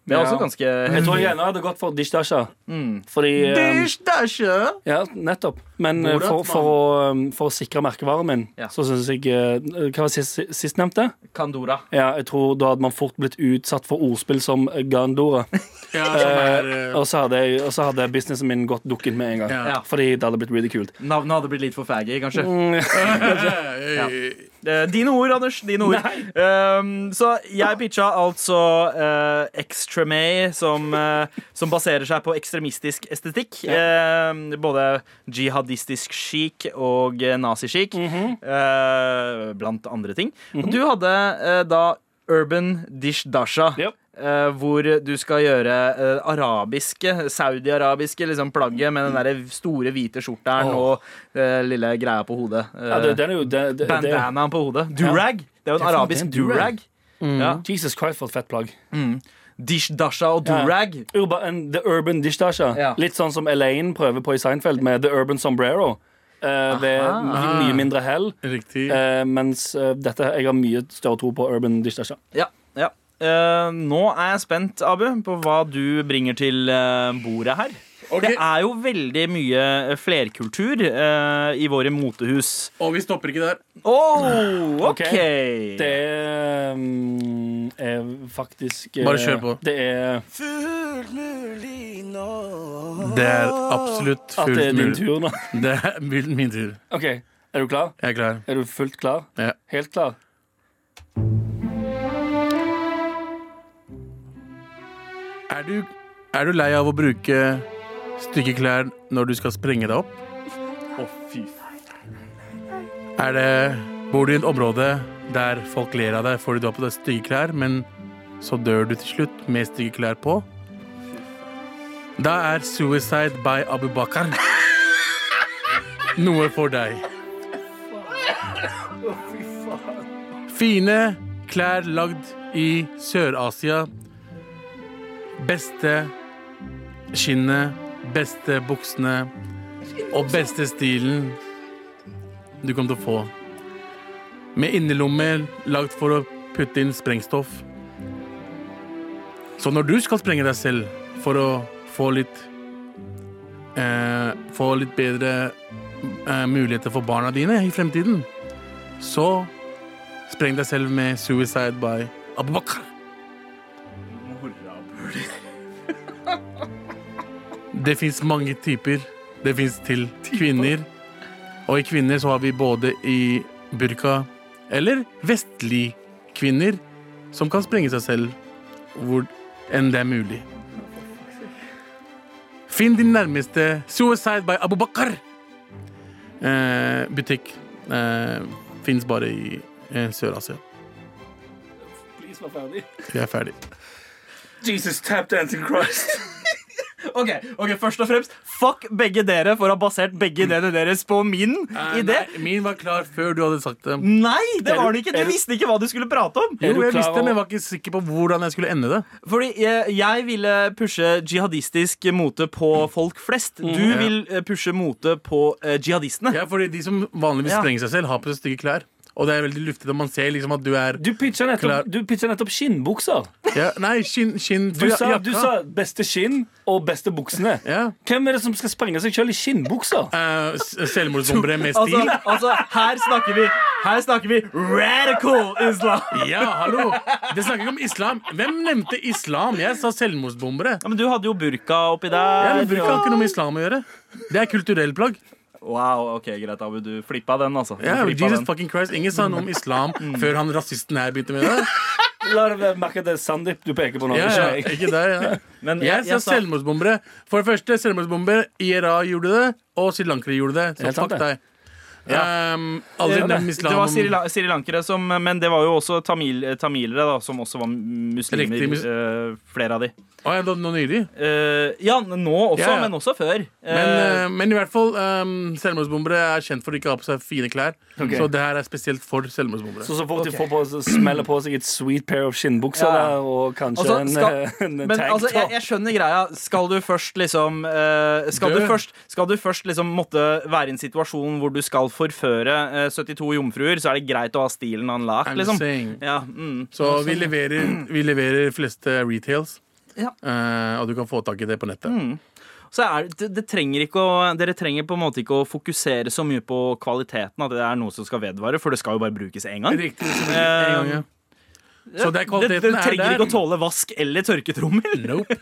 S6: Det er
S3: Ja.
S6: også ganske
S3: Jeg tror jeg gjerne hadde gått for Dishdasha.
S6: Mm.
S3: Fordi eh,
S5: Dish dasher.
S3: Ja, nettopp. Men eh,
S5: Borat,
S3: for, for, å, eh, for å sikre merkevaren min,
S6: Ja.
S3: så syns jeg eh, Hva var sist, sistnevnte?
S6: Kandora.
S3: Ja, jeg tror da hadde man fort blitt utsatt for ordspill som Gandora.
S5: Ja, som er, eh,
S3: Og så hadde, jeg- og så hadde businessen min gått dukken med en gang.
S5: Ja.
S6: Ja.
S3: Fordi det hadde blitt ridiculed.
S6: Navnet hadde blitt litt for faggy, kanskje.
S5: ja.
S6: Eh, dine ord, Anders. Dine ord. Ehm, så jeg pitcha altså uh, Extremay, som, eh, som baserer seg på ekstremistisk estetikk. Ehm, både jihadistisk chic og eh, nazi-chic,
S3: Mhm.
S6: eh, blant andre ting. Og du hadde eh, da Urban Dish Dasha.
S3: Yep.
S6: eh, hvor du skal gjøre eh, arabiske, saudi-arabiske liksom, plagget med den
S3: Mm.
S6: der store hvite skjorteren og eh, lille greia på hodet.
S3: Ja, det,
S6: Eh,
S3: det er jo det, det, det,
S6: Bandanaen på hodet. Durag. Det er jo en
S3: faen,
S6: arabisk
S3: det er en durag.
S6: durag.
S3: Mm.
S6: Ja.
S3: Jesus Christ, for et fett plagg.
S6: Dish dasha og
S3: Ja.
S6: durag.
S3: Urba, en, the Urban Dishdasha.
S6: Ja.
S3: Litt sånn som Elaine prøver på i Seinfeld med The Urban Sombrero. Eh, ved
S5: Aha.
S3: mye mindre hell.
S5: Riktig.
S3: Eh, mens eh, dette, jeg har mye større tro på Urban Dishdasha.
S6: Ja. ja. Eh, nå er jeg spent, Abu, på hva du bringer til eh, bordet her.
S5: Ok.
S6: Det er jo veldig mye eh, flerkultur eh, i våre motehus.
S5: Og vi stopper ikke der.
S6: Oh, OK!
S3: Ok. Det er, mm, er faktisk eh,
S5: Bare kjør på.
S3: Det er
S5: Det er absolutt
S3: at det
S5: fullt
S3: er din
S5: mulig.
S3: tur nå.
S5: Det er min min tur.
S3: OK, er du klar?
S5: Jeg er klar.
S3: Er du fullt klar?
S5: Ja.
S3: Helt klar?
S5: Er du, er du lei av å bruke stygge klær når du skal sprenge deg opp? Er det Bor du i et område der folk ler av deg fordi du har på deg stygge klær, men så dør du til slutt med stygge klær på? Da er Suicide by Abu Bakar noe for deg. Fine klær lagd i Sør-Asia. Beste skinnet, beste buksene og beste stilen du kommer til å få. Med innerlommer lagd for å putte inn sprengstoff. Så når du skal sprenge deg selv for å få litt eh, Få litt bedre eh, muligheter for barna dine i fremtiden, så spreng deg selv med Suicide by Abu Bakar. Det fins mange typer. Det fins til kvinner. Og i kvinner så har vi både i burka eller vestlig kvinner som kan sprenge seg selv hvor enn det er mulig. Finn din nærmeste Suicide by Abu Bakar. Eh, butikk eh, fins bare i eh, Sør-Asia.
S3: Please, vær ferdig.
S5: Vi er ferdig.
S3: Jesus tap dancing Christ.
S6: Ok, ok, Først og fremst, fuck begge dere for å ha basert begge ideene deres på min
S3: Eh,
S6: idé.
S5: Nei, min var klar før du hadde sagt det.
S6: Nei, det
S3: Er du-
S6: var den ikke! Du
S3: er du-
S6: visste ikke hva du skulle prate om.
S5: Jo,
S3: du
S5: jeg
S3: klar
S5: visste, men jeg
S3: over-
S5: var ikke sikker på hvordan jeg skulle ende det.
S6: Fordi jeg, jeg ville pushe jihadistisk mote på folk flest. Du vil eh, pushe mote på eh, jihadistene.
S5: Ja, fordi De som vanligvis
S6: Ja.
S5: sprenger seg selv, har på seg stygge klær. Og det er veldig luftig, og man ser liksom at du er
S3: Du pitcha
S5: Klar.
S3: nettopp, du pitcha nettopp skinnbukser.
S5: ja, Nei, skinn, skinn
S3: Du
S5: ja,
S3: sa,
S5: jakka.
S3: du sa beste skinn og beste buksene.
S5: ja.
S3: Hvem er det som skal sprenge seg sjøl i skinnbukser?
S5: Eh, s- Selvmordsombre med stil.
S6: Altså, altså, her snakker vi Her snakker vi radical islam!
S5: Ja, hallo! Det snakker ikke om islam. Hvem nevnte islam? Jeg sa selvmordsbombere.
S6: Ja, men du hadde jo burka oppi der.
S5: Ja, men Burka har ikke noe med islam å gjøre. Det er kulturell plagg.
S6: Wow, ok, Greit, Abu. Du flippa den, altså. Du
S5: Ja,
S6: flippa
S5: Jesus
S6: den.
S5: fucking Christ Ingen sa noe om islam
S3: Mm.
S5: før han rasisten her begynte med det.
S3: La deg merke at det er Sandeep du peker på nå.
S5: Ja, ja,
S3: ikke jeg.
S5: ikke deg, ja.
S6: Men
S5: Jeg sa selvmordsbombere. For det første, selvmordsbomber. IRA gjorde det, og Sri Lanka gjorde det. Så
S3: Helt sant,
S5: fuck
S3: det.
S5: deg. Um, alle
S6: Eh,
S5: siden det er
S6: nei,
S5: islam
S6: det var Sri, La- Sri Lankere, som, men det var jo også tamil, eh, tamilere, da, som også var muslimer.
S5: Riktig, mus-
S6: eh, flere av de.
S5: Å, ja, da- nå nylig.
S6: Eh, ja, nå også,
S5: Ja, ja.
S6: men også før. Eh,
S5: Men, eh, men i hvert fall, um, selvmordsbombere er kjent for å ikke ha på seg fine klær. Så det her er spesielt for selvmordsbombere.
S3: Så så fort de får på, så smeller på seg et sweet pair of skinnbukser
S6: Ja.
S3: der, og kanskje
S6: Altså, skal-
S3: en, en
S6: men
S3: tanktop.
S6: altså, jeg, jeg skjønner greia. Skal du først liksom eh, skal,
S5: Dø.
S6: du først, skal du først liksom måtte være i en situasjon hvor du skal forføre eh, 72 jomfruer, så er det greit å ha stilen han lak,
S5: I'm
S6: liksom.
S5: saying.
S6: Ja, mm.
S5: Så vi leverer, vi leverer fleste retails.
S6: Ja.
S5: Eh, og du kan få tak i det på nettet.
S6: Så er det, det trenger ikke å, dere trenger på en måte ikke å fokusere så mye på kvaliteten, at det er noe som skal vedvare, for det skal jo bare brukes én gang.
S5: Riktig. Så, det er en gang, ja. så
S6: Det,
S5: det er
S6: det
S5: kvaliteten er
S6: trenger ikke å
S5: der.
S6: tåle vask eller tørketrommel.
S5: Nope.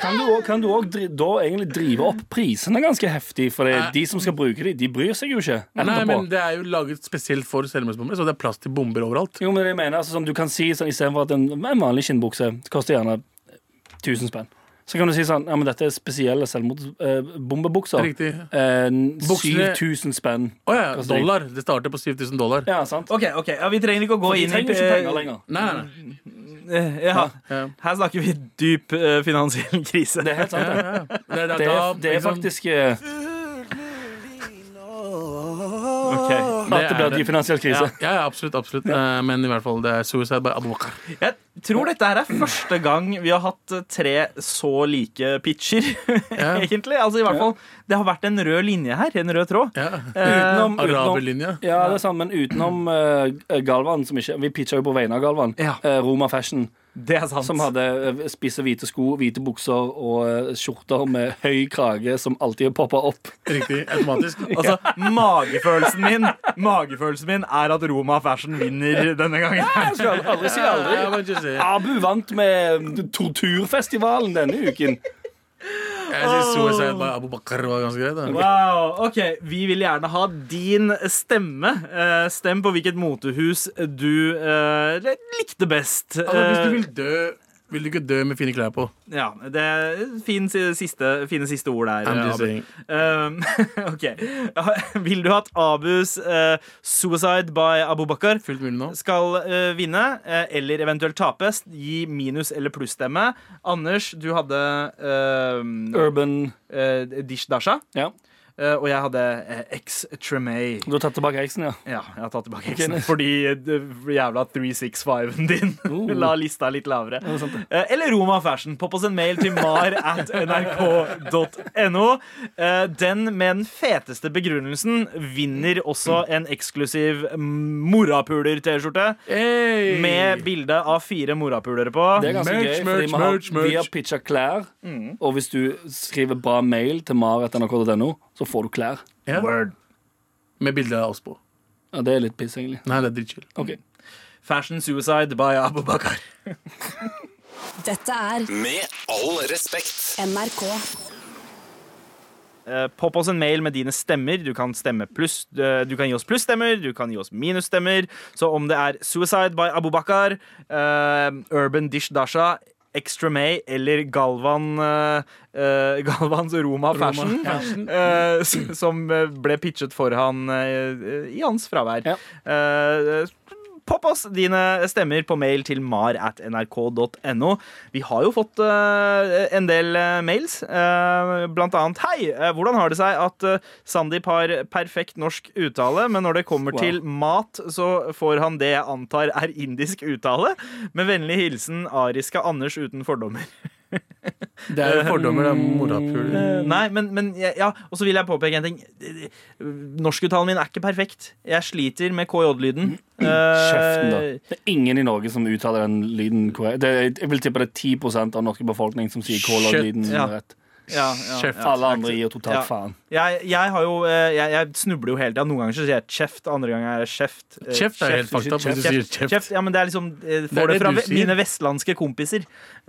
S3: Kan du også- Kan du òg da egentlig drive opp prisene ganske heftig? For
S5: Nei.
S3: de som skal bruke de, de bryr seg jo ikke.
S5: Nei,
S3: etterpå.
S5: men det er jo laget spesielt for selvmordsbombere, så det er plass til bomber overalt.
S3: Jo, men jeg mener, altså, sånn, du kan si sånn, Istedenfor at en, en vanlig skinnbukse koster gjerne 1000 spenn, så kan du si sånn Ja, men dette er spesielle selvmordsbombebukser.
S5: Riktig.
S3: Eh,
S5: Buksene-
S3: 7000 spenn.
S5: Å ja,
S3: koster de.
S5: dollar. Det starter på 7000 dollar.
S3: Ja, sant?
S6: Ok, ok, ja, Vi trenger ikke å gå
S3: De
S6: inn i
S3: trenger ikke penger lenger.
S5: Nei, nei, nei.
S6: Eh, Ja.
S5: Ja.
S6: Her snakker vi dyp eh, finansiell krise.
S3: Det er helt sant.
S5: Ja, ja. Det, er- er-
S3: Det er,
S5: da-
S3: det er
S5: liksom-
S3: faktisk eh,
S6: Ok.
S3: at
S5: det
S3: det
S5: er
S3: blir
S5: det.
S3: dyp finansiell krise.
S5: Ja, ja, absolutt. absolutt Eh, Men i hvert fall, det er suicide by Abu Bakr.
S6: Jeg tror dette her er første gang vi har hatt eh, tre så like pitcher, egentlig. Altså i hvert fall, Det har vært en rød linje her. En rød tråd.
S5: Ja. Eh,
S3: Utenom, utenom
S5: Araberlinja.
S3: ja, det er sant, men utenom eh, Galvan, som ikke Vi pitcha jo på vegne av Galvan.
S6: Ja.
S3: eh, Roma Fashion,
S6: Det er sant.
S3: som hadde eh, spisse hvite sko, hvite bukser og eh, skjorter med høy krage som alltid poppa opp.
S5: Riktig. Automatisk.
S6: Altså, magefølelsen min Magefølelsen min er at Roma Fashion vinner denne gangen.
S3: Jeg skal aldri si aldri.
S5: Ja, men ikke si.
S3: Abu vant med Torturfestivalen denne uken.
S5: Jeg syns suicide by Abu Bakr var ganske greit. Da.
S6: Wow, ok Vi vil gjerne ha din stemme. Eh, Stem på hvilket motehus du eh, likte best.
S5: Altså, hvis du vil dø, vil du ikke dø med fine klær på.
S6: Eh, Ja, det er fin si- siste, fine siste ord der.
S5: I'm
S6: eh,
S5: just
S6: Abu.
S5: saying.
S6: Eh, ok Vil du at Abus eh, 'Suicide by Abu Bakar'
S5: Fullt mulig nå.
S6: skal eh, vinne, eh, eller eventuelt tape, gi minus- eller plussstemme. Anders, du hadde uh,
S3: Urban
S6: Dish Dasha,
S3: Ja,
S6: eh, og jeg hadde eh, X Tremay.
S3: du har tatt tilbake eksen, ja.
S6: Ja, jeg har tatt tilbake X-en fordi eh, det jævla 365-en din
S3: Oh.
S6: la lista litt lavere.
S3: Det er sant, det.
S6: Eh, Eller Roma Fashion. Popp oss en mail til mar at nrk.no. Eh, Den med den feteste begrunnelsen vinner også en eksklusiv mm, morapuler-T-skjorte.
S5: Hey!
S6: Med bilde av fire morapulere på.
S3: Det er ganske
S5: Merch,
S3: gøy, fordi
S5: merch,
S3: vi har,
S5: merch, merch.
S3: vi har pitcha klær,
S6: Mm.
S3: og hvis du skriver bra mail til mar.nrk.no, så får du klær.
S5: Ja. Med bilde av oss på.
S3: Ja, Det er litt piss, egentlig.
S5: Nei, det er dritchill.
S3: Ok.
S6: Fashion Suicide by Abubakar.
S4: Dette er
S1: Med all respekt.
S4: NRK.
S6: Eh, Popp oss en mail med dine stemmer. Du kan, stemme pluss, eh, du kan gi oss plusstemmer, du kan gi oss minusstemmer. Så om det er Suicide by Abubakar, eh, Urban Dish Dasha, Extra May eller Galvan eh, eh, Galvans Roma Fashion, eh, s- som eh, ble pitchet for han eh, i hans fravær.
S3: Ja.
S6: Eh, Popp oss dine stemmer på mail til mar at nrk.no. Vi har jo fått eh, en del eh, mails, eh, blant annet Hei, eh, hvordan har det seg at eh, Sandeep har perfekt norsk uttale, men når det kommer
S3: Wow.
S6: til mat, så får han det jeg antar er indisk uttale? Med vennlig hilsen ariske Anders uten fordommer.
S5: Det er jo fordommer. Det er morapuler.
S3: Mm.
S6: Nei, men, men ja, ja, og så vil jeg påpeke en ting. Norskuttalen min er ikke perfekt. Jeg sliter med Eh, KJ-lyden.
S3: Mm. Kjeften, da. Det er ingen i Norge som uttaler den lyden korrekt. Det, er- jeg vil tippe det er 10 av den norske befolkning som sier K-lyd-lyden
S6: Shit, ja.
S3: rett.
S6: Ja, ja,
S5: Kjeft.
S6: ja.
S3: Alle andre gir totalt
S6: Ja.
S3: faen.
S6: Jeg, jeg har jo eh, jeg, jeg snubler jo hele tida. Noen ganger så sier jeg kjeft, andre ganger er jeg kjeft. Eh,
S5: Kjeft er helt
S3: Kjeft,
S5: fakta. Hvis du sier
S6: Kjeft,
S5: kjeft,
S6: kjeft, ja, men det er liksom eh,
S5: er
S6: Får det
S5: det
S6: fra
S5: du
S6: ve-
S5: sier.
S6: mine vestlandske kompiser.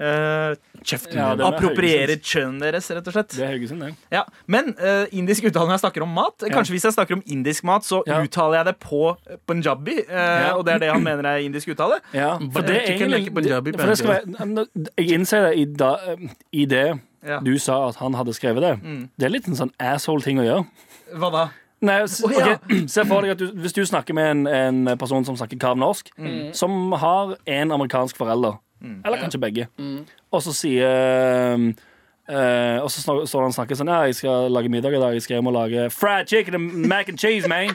S6: Eh,
S5: kjeft
S3: Ja, det- er
S6: approprierer
S3: Haugesunds.
S6: kjønnet deres, rett og slett.
S3: Det er Haugesund, det.
S6: Ja. Men eh, indisk uttale når jeg snakker om mat Kanskje hvis jeg snakker om indisk mat, så
S3: Ja.
S6: uttaler jeg det på punjabi. eh,
S3: Ja.
S6: Og det er det han mener er indisk uttale.
S3: Ja, for
S5: But
S3: det er
S5: chicken
S3: egentlig
S5: like Punjabi,
S3: det- for det skal
S5: Punjabi.
S3: være, Nå, Jeg innser det i, da, i det
S6: Ja. Mm.
S3: du sa at han hadde skrevet det. Det er litt en sånn asshole-ting å gjøre.
S6: Hva da?
S3: Nei, s-
S6: Å, ja.
S3: ok. Se for deg at du, hvis du snakker med en, en person som snakker kavnorsk, som har en amerikansk forelder, eller kanskje begge, og så sier um, eh, og så snak- står han og snakker sånn Ja, jeg skal lage middag i dag. Jeg skal hjem og lage fried chicken and mac and cheese, man.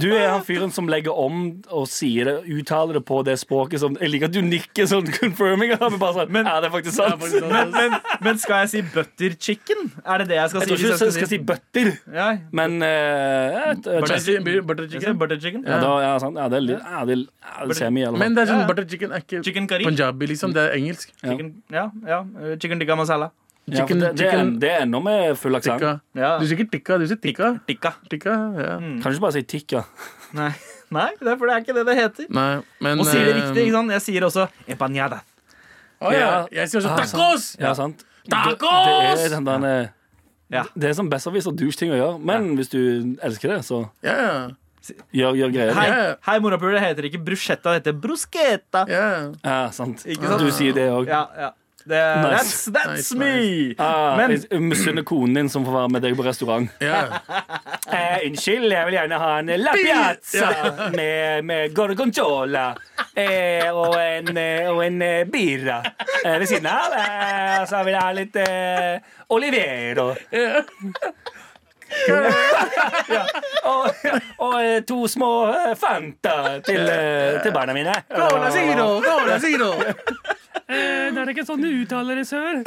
S3: Du er han fyren som legger om og sier det, uttaler det på det språket som Jeg liker at du nikker sånn confirming. Og bare sånn, ja, sånn- det er faktisk sant.
S6: Men, men, men skal jeg si butter chicken? Er det det jeg skal si?
S3: Jeg tror ikke
S6: hvis
S3: du skal, skal si bøtter,
S6: ja,
S3: men eh, et- et-
S5: Butter chicken, butter
S6: jeg sier
S5: chicken.
S6: butter chicken.
S3: Ja, da, ja, sant. ja, det er litt ja, det, er- ja, det er semi, eller
S5: Men
S3: noe.
S5: det er sånn,
S6: Ja.
S5: butter chicken er ikke
S6: Chicken curry.
S5: punjabi, liksom. Det er engelsk.
S6: Chicken, ja, ja. Eh, Chicken tikka masala.
S3: Ja, for det, det, er,
S5: chicken-
S3: det er ennå med full aksent.
S5: Tikka.
S6: Ja.
S5: Du sier ikke tikka, du sier tikka.
S6: Tikka.
S5: Tikka, Mm. ja.
S3: Kan du ikke bare si tikka?
S6: Nei. Nei, det er, for det er ikke det det heter.
S5: Nei, men
S6: Og sier det
S5: eh,
S6: riktig, ikke sant? Jeg sier også empanada.
S5: Å eh, ja. sånn.
S3: Ja.
S5: Jeg sier også
S3: Ah,
S5: tacos!
S3: Ja, sant?
S5: Tacos!
S3: Det, det er den der, eh,
S6: Ja.
S3: Det er sånn som besserwisser douche-ting å gjøre, men hvis du elsker det, så
S5: Ja, ja.
S3: gjør, gjør greier.
S6: Hei,
S5: Ja.
S6: hei morapuler, det heter ikke bruschetta, det heter bruschetta.
S5: ja.
S3: Ja, sant.
S6: Ikke sant?
S3: Du sier det òg.
S6: Ja, ja. Det, that's
S3: Nice.
S6: that's
S5: Nice,
S6: me!
S3: Ah,
S6: Men-
S3: jeg misunner konen din som får være med deg på restaurant.
S5: ja.
S3: Eh, unnskyld, jeg vil gjerne ha en lappiazza med, med gorgonzola. Eh, og en, eh, og en eh, birra eh, ved siden av. Eh, og så vil jeg ha litt eh, olivero. ja. Og, og eh, to små eh, Fanta til, eh, Oh. til barna mine.
S5: Cola zero, cola zero.
S3: Eh, det er ikke sånn du uttaler det, sør.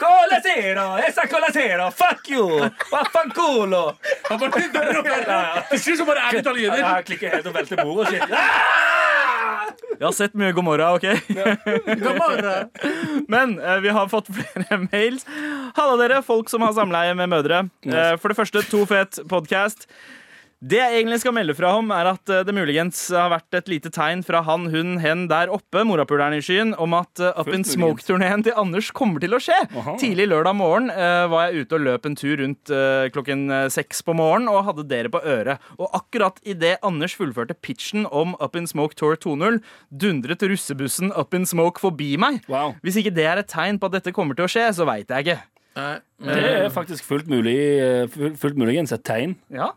S3: Cola zero, esa cola zero, fuck you, vaffanculo.
S5: Han bare begynner å være- Til slutt så bare er du italiener.
S3: Jeg klikker helt og velter bordet og shit.
S6: Jeg har sett mye Gomorra, OK?
S5: Gamara.
S6: Men eh, vi har fått flere mails. Halla dere, folk som har samleie med mødre. Eh, for det første, to fet podcast. Det jeg egentlig skal melde fra om, er at eh, det muligens har vært et lite tegn fra han, hun, hen der oppe, morapuleren i skyen, om at eh, Up in Smoke-turneen til Anders kommer til å skje. Tidlig lørdag morgen eh, var jeg ute og løp en tur rundt eh, klokken eh, seks på morgenen og hadde dere på øret. Og akkurat idet Anders fullførte pitchen om Up in Smoke Tour 2.0, dundret russebussen Up in Smoke forbi meg.
S3: Wow.
S6: Hvis ikke det er et tegn på at dette kommer til å skje, så veit jeg ikke.
S5: Nei, men-
S3: Det er faktisk fullt mulig eh, full- Fullt muligens et tegn.
S6: Ja.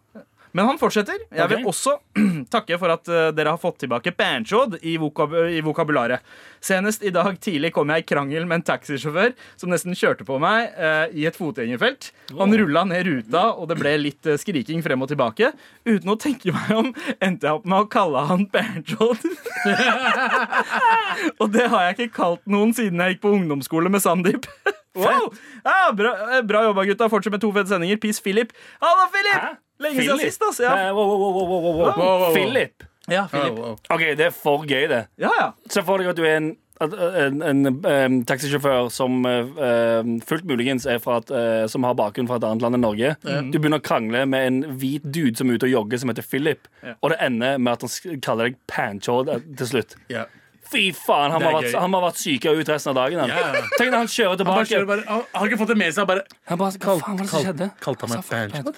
S6: Men han fortsetter. Jeg vil
S3: Ok.
S6: også takke for at eh, dere har fått tilbake banjod i, vokab i vokabularet. Senest i dag tidlig kom jeg i krangel med en taxisjåfør som nesten kjørte på meg eh, i et fotgjengerfelt. Han rulla ned ruta, og det ble litt eh, skriking frem og tilbake. Uten å tenke meg om endte jeg opp med å kalle han banjod. og det har jeg ikke kalt noen siden jeg gikk på ungdomsskole med Sandeep. Wow! Ja, bra, eh, bra jobba, gutta. Fortsett med to fete sendinger. Peace, Philip. Hallo, Philip! Lenge siden
S3: Philip?
S6: sist, ass. Ja,
S3: Nei, wow, wow, wow, wow, wow, wow.
S5: wow, wow.
S3: Philip.
S6: ja
S5: Wow,
S6: Philip.
S5: wow.
S3: OK, det er for gøy, det.
S6: Ja, ja.
S3: Se for deg at du er en, at, eh, en, en, em, taxisjåfør som eh, em, fullt muligens er fra et, eh, som har bakgrunn fra et annet land enn Norge. Du begynner å krangle med en hvit dude som er ute og jogger, som heter Philip, og det ender med at han sk- kaller deg panchod eh, til slutt.
S5: Ja.
S3: Fy faen, han
S5: Det
S3: må
S5: er
S3: ha vært,
S5: gøy.
S3: han må ha vært sykere ut resten av dagen. Han.
S5: Ja, ja.
S3: Tenk når han kjører
S5: Han bare
S3: tilbake.
S5: kjører bare- han- han har ikke fått det med seg. han Bare
S3: Han bare, hva faen var det som skjedde?
S5: kalte han meg banjo.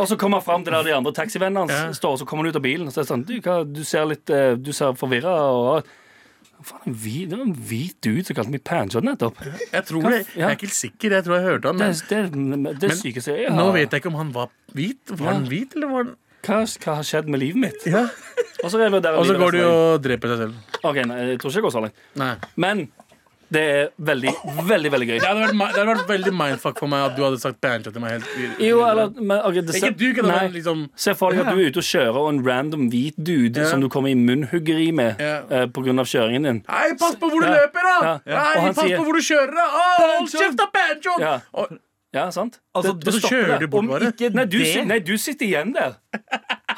S3: Og så kommer han fram til der de andre taxivennene hans
S5: Ja.
S3: står, og så kommer han ut av bilen. Og så er det sånn, du, hva, du ser litt eh, Du ser forvirra og Hva Faen, en hvit- det var en hvit dude som kalte meg panchod nettopp. Det,
S5: Jeg tror det. Jeg er ikke helt sikker. Jeg tror jeg hørte han. Men
S3: er- det, er- det er sykeste jeg
S5: nå
S3: har
S5: vet jeg ikke om han var hvit. Var han
S3: Ja.
S5: hvit, eller var han
S3: Hva, hva har skjedd med livet mitt?
S5: Ja.
S3: Og så reverderer
S5: Og så
S3: livet
S5: går du
S3: resten av
S5: og dreper deg selv.
S3: dagen. Ok, nei, Jeg tror ikke det går så langt.
S5: Nei.
S3: Men det er veldig, veldig veldig gøy.
S5: Det hadde, vært, mi- det hadde vært veldig mindfuck for meg at du hadde sagt banjo til meg. Helt.
S3: Jo, eller men, ok, det,
S5: Ikke du, kan det
S3: nei.
S5: være liksom
S3: Se for deg at du er ute og kjører, og en random hvit dude
S5: Ja.
S3: som du kommer i munnhuggeri med
S5: Ja.
S3: eh, på grunn pga. kjøringen din.
S5: Hei, pass på hvor du
S3: Ja.
S5: løper, da!
S3: Ja. Ja. Og
S5: Hei,
S3: han
S5: pass
S3: sier-
S5: på hvor du kjører, da! Å, Hold
S3: Banjo!
S5: kjeft, da, banjo!
S3: Ja.
S5: Og-
S3: Ja, sant?
S6: Altså,
S5: Og så kjører du bort
S6: Om
S5: bare.
S6: ikke
S3: Nei, du,
S6: det
S3: sit- nei, du sitter igjen der.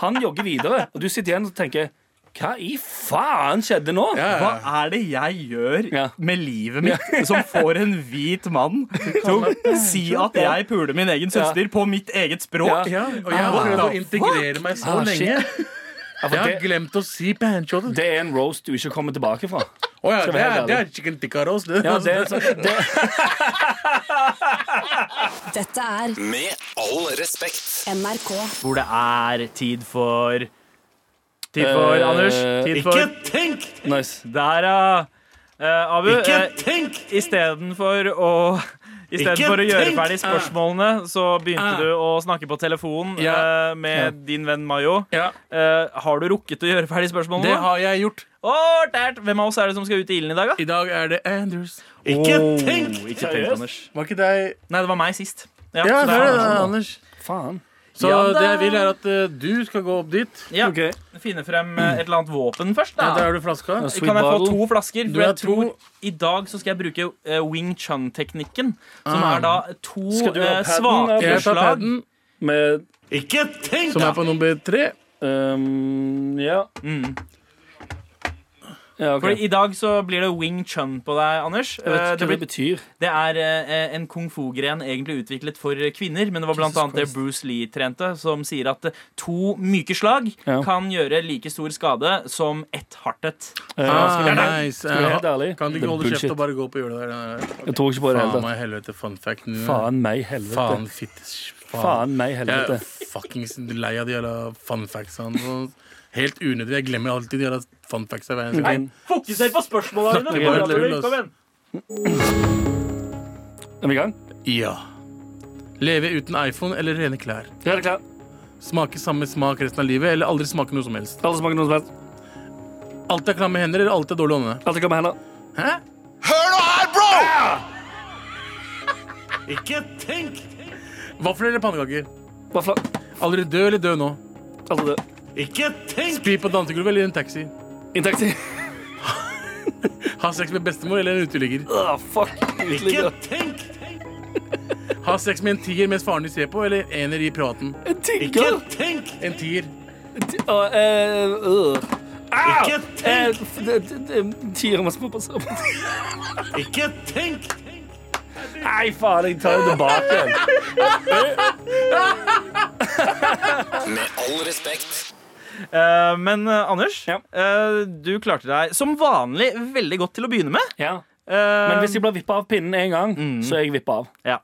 S3: Han jogger videre, og du sitter igjen og tenker Hva i faen skjedde nå?
S5: Ja, ja.
S6: Hva er det jeg gjør
S3: Ja.
S6: med livet mitt som får en hvit mann til å si at jeg puler min egen søster på mitt eget språk?
S5: Ja, og jeg har
S6: What
S5: prøvd å
S6: the
S5: integrere meg så
S3: Ah, shit.
S5: lenge.
S3: Ja,
S5: Jeg
S3: for
S5: har
S3: det,
S5: glemt å si banjo.
S3: det er en roast du ikke kommer tilbake fra.
S5: Å ja,
S3: Skal vi
S5: det er,
S3: helt
S5: det er chicken tikka roast. Det,
S3: Ja, det, er
S5: altså.
S3: sånn- det,
S4: Dette er
S1: Med all respekt.
S4: NRK.
S6: Hvor det er tid for Tid for,
S3: Eh,
S6: Anders. Tid for
S5: tenk!
S3: nice.
S6: Der, ja.
S7: Eh, Abu,
S6: Ikke
S7: eh,
S6: tenk!
S7: istedenfor å i stedet
S6: Ikke
S7: for å gjøre
S6: tenk!
S7: ferdig spørsmålene, så begynte
S6: Ah.
S7: du å snakke på telefon
S5: Ja.
S7: eh, med din venn Mayo.
S5: Ja,
S7: Eh, har du rukket å gjøre ferdig spørsmålene?
S5: det
S7: nå?
S5: har jeg gjort.
S7: Å, tært! Hvem av oss er det som skal ut i ilden i dag, da?
S5: I dag er det Anders.
S6: Ikke tenk!
S7: Oh, ikke tenk, Anders.
S5: Var ikke deg
S7: Nei, det var meg sist.
S5: Ja,
S7: så
S5: det
S7: det sånn. er
S5: er det,
S7: Anders.
S5: Anders.
S3: Faen.
S5: Så
S7: Ja da.
S5: det jeg vil, er at eh, du skal gå opp dit.
S7: Ja,
S3: Ok.
S7: Finne frem eh, et eller annet våpen først,
S5: Ja, der
S7: da.
S5: har du flaska.
S3: Ja, så-
S7: Kan jeg få
S3: Sweet
S7: to flasker?
S5: Du
S7: For
S5: har
S7: jeg tror
S5: to.
S7: I dag så skal jeg bruke eh, wing chun-teknikken, som
S5: Ah.
S7: er da to
S3: Skal du ha padden,
S7: eh,
S5: Jeg
S7: svake
S3: eller?
S5: tar
S7: slag.
S5: paden,
S3: Med
S6: Ikke tenk!
S5: som er på nummer tre.
S3: ehm, Ja.
S7: Mm.
S3: ja ok.
S7: For I dag så blir det wing chun på deg, Anders.
S3: Jeg vet
S7: Eh,
S3: ikke
S7: Det,
S3: hva det
S7: blir,
S3: betyr.
S7: det er eh, en kung fu-gren egentlig utviklet for kvinner, men det var blant
S5: Jesus
S7: annet det
S5: Christ.
S7: Bruce Lee trente, som sier at eh, to myke slag
S3: Ja.
S7: kan gjøre like stor skade som ett hardt et.
S3: Eh,
S5: Ah,
S7: skal vi-
S5: nice.
S3: skal vi være
S5: Eh,
S3: helt ærlig?
S5: Kan du
S3: Det
S5: ikke
S3: er
S5: holde kjeft
S3: bullshit.
S5: og bare gå på hjulet der?
S3: Jeg tror ikke på det i det hele
S5: Faen
S3: tatt.
S5: meg helvete, fun fact. nå.
S3: Faen meg, helvete.
S5: Faen, fittes. Faen.
S3: Faen meg,
S5: Jeg
S3: helvete.
S5: er fuckings lei av de jævla fun factsene. og Helt unødvendig. Jeg glemmer alltid de jævla fun factsa hver eneste gang.
S7: Fokuser på spørsmåla
S5: dine, Snakker bare Olav. tull, ass. Kom igjen.
S3: Er vi i gang?
S5: Ja. Leve uten iPhone eller rene klær.
S3: Ja, det er klart.
S5: Smake samme smak resten av livet eller aldri smake noe som helst.
S3: Alle smaker noe som helst.
S5: Alt er klamme hender eller alt er dårlig ånde.
S3: Alt kommer hender.
S5: Hæ?
S1: Hør nå her, bro!
S6: Ikke tenk!
S5: Vafler eller pannekaker?
S3: Vafler.
S5: Aldri dø eller dø nå.
S3: Altså det.
S6: Ikke tenk!
S5: Spy på dansegulvet eller i en taxi.
S3: Inntekter.
S5: Ha sex med bestemor eller en uteligger.
S3: Ah, fuck.
S6: Ikke
S3: Uteligger.
S6: tenk!
S5: Ha sex med en tiger mens faren din ser på, eller en ener i privaten.
S3: En
S6: Ikke
S3: tigger.
S6: tenk!
S5: En tiger.
S3: Å, eh, øh. Au!
S6: Ikke
S3: Eh,
S6: tenk!
S3: f- det- det- det- Tiger må spå på sammen.
S6: Ikke tenk!
S3: Nei, faen, jeg tar det tilbake igjen.
S1: Med all respekt.
S7: Eh, men eh, Anders,
S3: Ja.
S7: eh, du klarte deg som vanlig veldig godt til å begynne med.
S3: Ja.
S7: Eh,
S3: Men hvis jeg blir vippet av pinnen en gang, så er jeg vippet av.
S7: ja.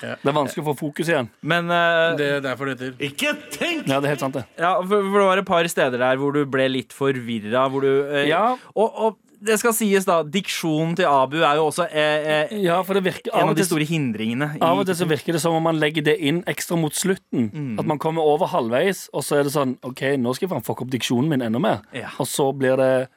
S3: Det er vanskelig å få fokus igjen.
S7: men eh,
S5: Det er derfor det heter.
S6: Ikke tenk!
S3: Ja, det er helt sant det.
S7: ja, for, for det var et par steder der hvor du ble litt forvirra. Hvor du, eh,
S3: Ja.
S7: og, og det skal sies, da. Diksjonen til Abu er jo også eh, eh,
S3: Ja, for det virker
S7: en
S3: av
S7: av
S3: og
S7: de
S3: til
S7: store hindringene. i-
S3: Av og til så virker det som om man legger det inn ekstra mot slutten. At man kommer over halvveis, og så er det sånn OK, nå skal jeg faen fucke opp diksjonen min enda mer.
S7: Ja.
S3: Og så blir det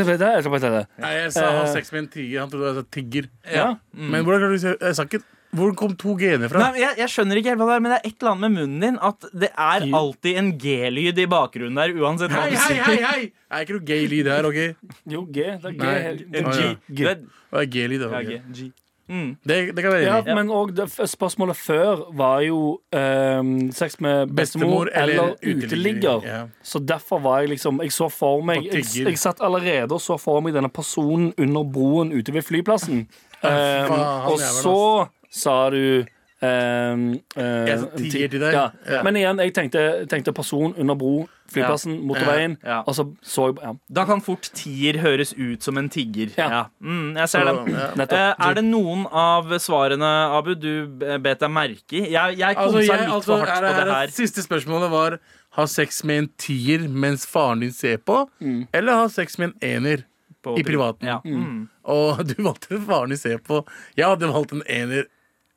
S3: Ja.
S5: Nei, jeg sa ha sex med en tiger. Han trodde jeg sa tigger. Mm.
S3: Ja.
S5: Men hvordan klarte du å si Jeg sa ikke Hvor kom to g-ene fra?
S7: Nei, men jeg, jeg skjønner ikke helt hva det er, men det er et eller annet med munnen din at det er alltid en G-lyd i bakgrunnen der. uansett hva
S5: Hei,
S7: du
S5: hei,
S7: sier.
S5: hei! hei Er ikke noe gay-lyd her, OK?
S3: Jo, G. Det er G.
S5: Nei.
S3: helt-
S5: En
S3: G.
S5: G.
S3: G.
S7: Det er-
S5: Hva er gay-lyd? da?
S7: ja,
S5: ok?
S7: G. G.
S5: Det, det kan jeg være
S3: Ja,
S5: enig i.
S3: men òg spørsmålet før var jo ehm, sex med bestemor eller uteligger.
S5: Ja.
S3: Så derfor var jeg liksom Jeg så for meg
S5: Og
S3: jeg,
S5: tigger.
S3: jeg satt allerede og så for meg denne personen under broen ute ved flyplassen. Um,
S5: han
S3: og
S5: jævelen,
S3: så sa du um, uh,
S5: Jeg sa tiger til deg.
S3: Ja.
S5: Ja.
S3: Men igjen, jeg tenkte, tenkte person under bro, flyplassen, motorveien.
S7: Ja.
S3: Og så så jeg ja.
S7: Da kan fort tier høres ut som en tigger.
S3: Ja.
S7: Ja. Mm, jeg ser
S5: Så,
S7: den.
S5: ja.
S3: Nettopp.
S7: Eh, er det noen av svarene, Abu, du b- bet deg merke i? Jeg, jeg
S5: Altså,
S7: konsa
S5: jeg,
S7: litt
S5: altså,
S7: for hardt
S5: er
S7: på
S5: det
S7: det
S5: her,
S7: her.
S5: Siste spørsmålet var ha sex med en tier mens faren din ser på,
S3: Mm.
S5: eller ha sex med en ener
S7: På-
S5: i privaten.
S7: Ja. Mm.
S5: Og du valgte faren din se på. Jeg hadde valgt en ener,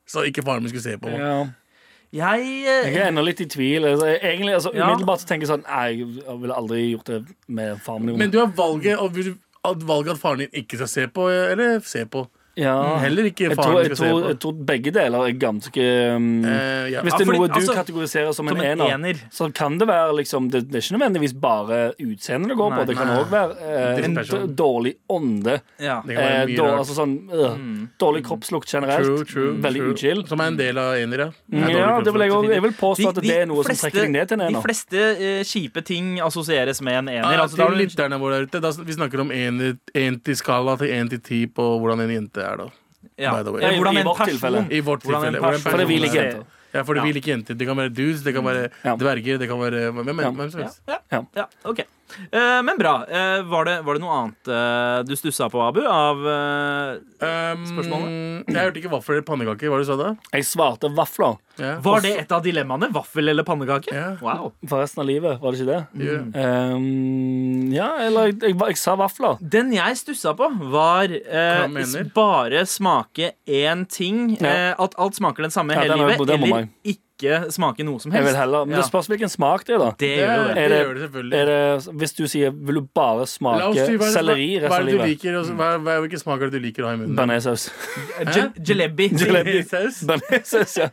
S5: så ikke faren min skulle se på.
S3: Ja.
S7: Jeg,
S3: Jeg
S7: eh,
S3: er ennå litt i tvil. Altså, egentlig, altså,
S7: Ja.
S3: Umiddelbart så tenker jeg sånn Nei, jeg ville aldri gjort det med faren min.
S5: Men du har valget og vil at valget at faren din ikke skal se på, eller se på.
S3: ja.
S5: Mm, Heller ikke
S3: jeg
S5: faren
S3: tror,
S5: din
S3: jeg,
S5: skal
S3: tror,
S5: se
S3: jeg
S5: på.
S3: tror begge deler er ganske um,
S5: Eh, ja.
S3: Hvis det
S7: Ja,
S3: er
S7: fordi,
S3: noe du
S7: altså,
S3: kategoriserer som,
S7: som
S3: en,
S7: en
S3: ener,
S7: ener.
S3: så kan det være liksom, det, det er ikke nødvendigvis bare utseendet det går
S7: Nei.
S3: på. Det kan òg være eh, en d-
S5: Person.
S3: dårlig ånde.
S7: ja.
S5: Det kan
S3: Eh,
S5: være mye
S3: dår,
S5: rart. Mm.
S3: altså sånn, øh, Dårlig kroppslukt generelt. Mm,
S5: True, true,
S3: veldig
S5: true.
S3: uchill. Mm.
S5: Som er en del av enere. Det er dårlig
S3: Ja, det vil jeg,
S5: kroppsspråk.
S3: også- jeg vil påstå at
S7: De-
S3: det
S7: de
S3: er noe som
S7: fleste-
S3: trekker deg ned til en
S7: De
S3: ener.
S7: fleste eh, kjipe ting assosieres med en ener.
S5: Ja,
S7: altså, da har
S5: til
S7: du en-
S5: lytterne våre der ute, da, vi snakker om én til skala til én til ti på hvordan en jente er, da.
S7: ja.
S5: by the way.
S7: Eller hvordan
S3: I
S7: en
S3: vårt
S7: person-
S3: tilfelle.
S5: I vårt
S7: Hvordan en
S5: tilfelle. hvordan
S7: person-
S3: Fordi vi
S5: personen
S3: liker
S5: er.
S3: jenter.
S5: Ja, fordi
S7: Ja.
S5: vi liker jenter. Det kan være dudes, det kan være
S3: Ja.
S5: dverger, det kan være hvem, hvem,
S3: Ja.
S5: hvem som helst.
S7: Ja,
S3: Ja.
S7: ja, ok Eh, men bra. Eh, var, det, var det noe annet eh, du stussa på, Abu? Av eh,
S5: Um,
S7: Spørsmålet?
S5: Jeg hørte ikke vafler eller pannekaker. Hva var det du sa da?
S3: Jeg svarte vafler
S5: Ja.
S7: Var det et av dilemmaene? Vaffel eller pannekake?
S5: Ja.
S7: Wow.
S3: for resten av livet, var det ikke det?
S5: Yeah.
S3: Ehm, ja, eller jeg, jeg, jeg sa vafler.
S7: Den jeg stussa på, var eh,
S5: Hva mener?
S7: s- bare smake én ting.
S3: Ja.
S7: Eh, at alt smaker den samme
S3: Ja,
S7: hele
S3: den er-
S7: livet.
S3: den må
S7: Eller
S3: meg.
S7: ikke smake noe som
S3: Jeg
S7: helst.
S3: vil heller, men
S7: Ja.
S3: det spørs hvilken smak det er, da.
S7: Det
S5: Det,
S7: gjør jo det.
S5: det,
S3: Er det-
S5: gjør det selvfølgelig.
S3: Er det, hvis du sier 'vil du bare
S5: La oss
S3: smake
S5: si, hva er det-
S3: selleri
S5: hva
S3: resten
S5: er
S3: av
S5: det du
S3: livet'?
S5: liker, og så- hva, hva, hvilke smaker er det du liker å ha i munnen?
S3: Bearnéssaus.
S7: Jel- Jalebi.
S5: Jalebi saus?
S3: Bearnéssaus, ja.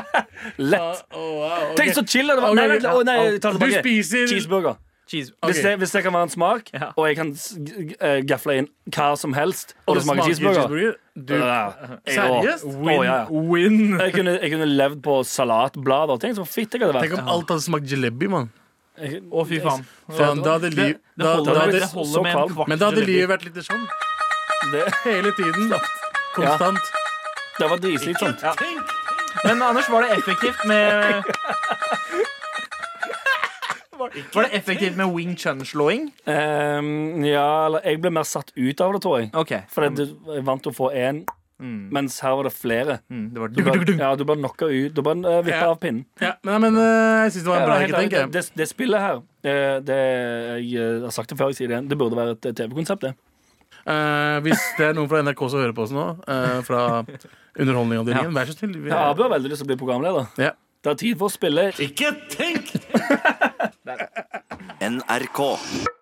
S3: Lett.
S5: Ah, oh, wow, ok.
S3: Tenk så chill det var.
S5: Ok,
S3: Nei, nei,
S5: ja.
S3: å, nei, jeg tar det
S5: Du
S3: tilbake.
S5: spiser
S3: Cheeseburger.
S7: Cheese.
S5: Ok.
S3: Hvis, det, hvis det kan være en smak,
S7: Ja.
S3: og jeg kan s- g- eh, gafle inn hva som helst, og det smaker cheeseburger
S5: Du,
S3: Ja.
S5: seriøst?
S3: Å, å, ja, ja.
S7: Win.
S3: Jeg kunne, jeg kunne levd på salatblader. Tenk så fitt jeg hadde
S5: Tenk
S3: vært.
S5: om alt hadde smakt jalebi, mann.
S3: Jeg-
S7: Å, fy faen.
S5: Faen, da hadde
S7: Det,
S5: liv-
S7: det
S5: da-
S7: holder,
S5: da hadde-
S7: det holder
S3: så
S7: med en
S3: kvalm.
S7: kvart
S5: Men da hadde
S7: jalebi.
S5: livet vært litt sånn.
S3: Det,
S5: Hele tiden. Konstant.
S3: det var dritslitsomt.
S1: Tenk!
S7: Men Anders, var det effektivt med Var det effektivt med wing chun-slåing?
S3: Ehm, ja, eller jeg ble mer satt ut av det, tror jeg.
S7: OK.
S3: For det, du jeg er vant til å få én, mens her var det flere.
S7: Mm, det var
S3: Du bare, ja, du bare knocka ut. Du bare uh, vippa
S5: Ja.
S3: av pinnen.
S5: Ja, nei, men eh, jeg syns det var en bra
S3: Ja, helt
S5: ikke
S3: ærlig,
S5: tenker jeg.
S3: det, det spillet her, det, det jeg eh, har sagt det før, jeg sier det igjen, det burde være et eh, TV-konsept, det.
S5: Eh, hvis det er noen fra NRK som hører på oss nå, eh, fra Underholdningsavdelingen, vær så snill. vi-
S3: Ja, Abu har veldig lyst til å bli programleder.
S5: Ja.
S3: Det er tid for å spille
S1: Ikke tenk!
S8: NRK.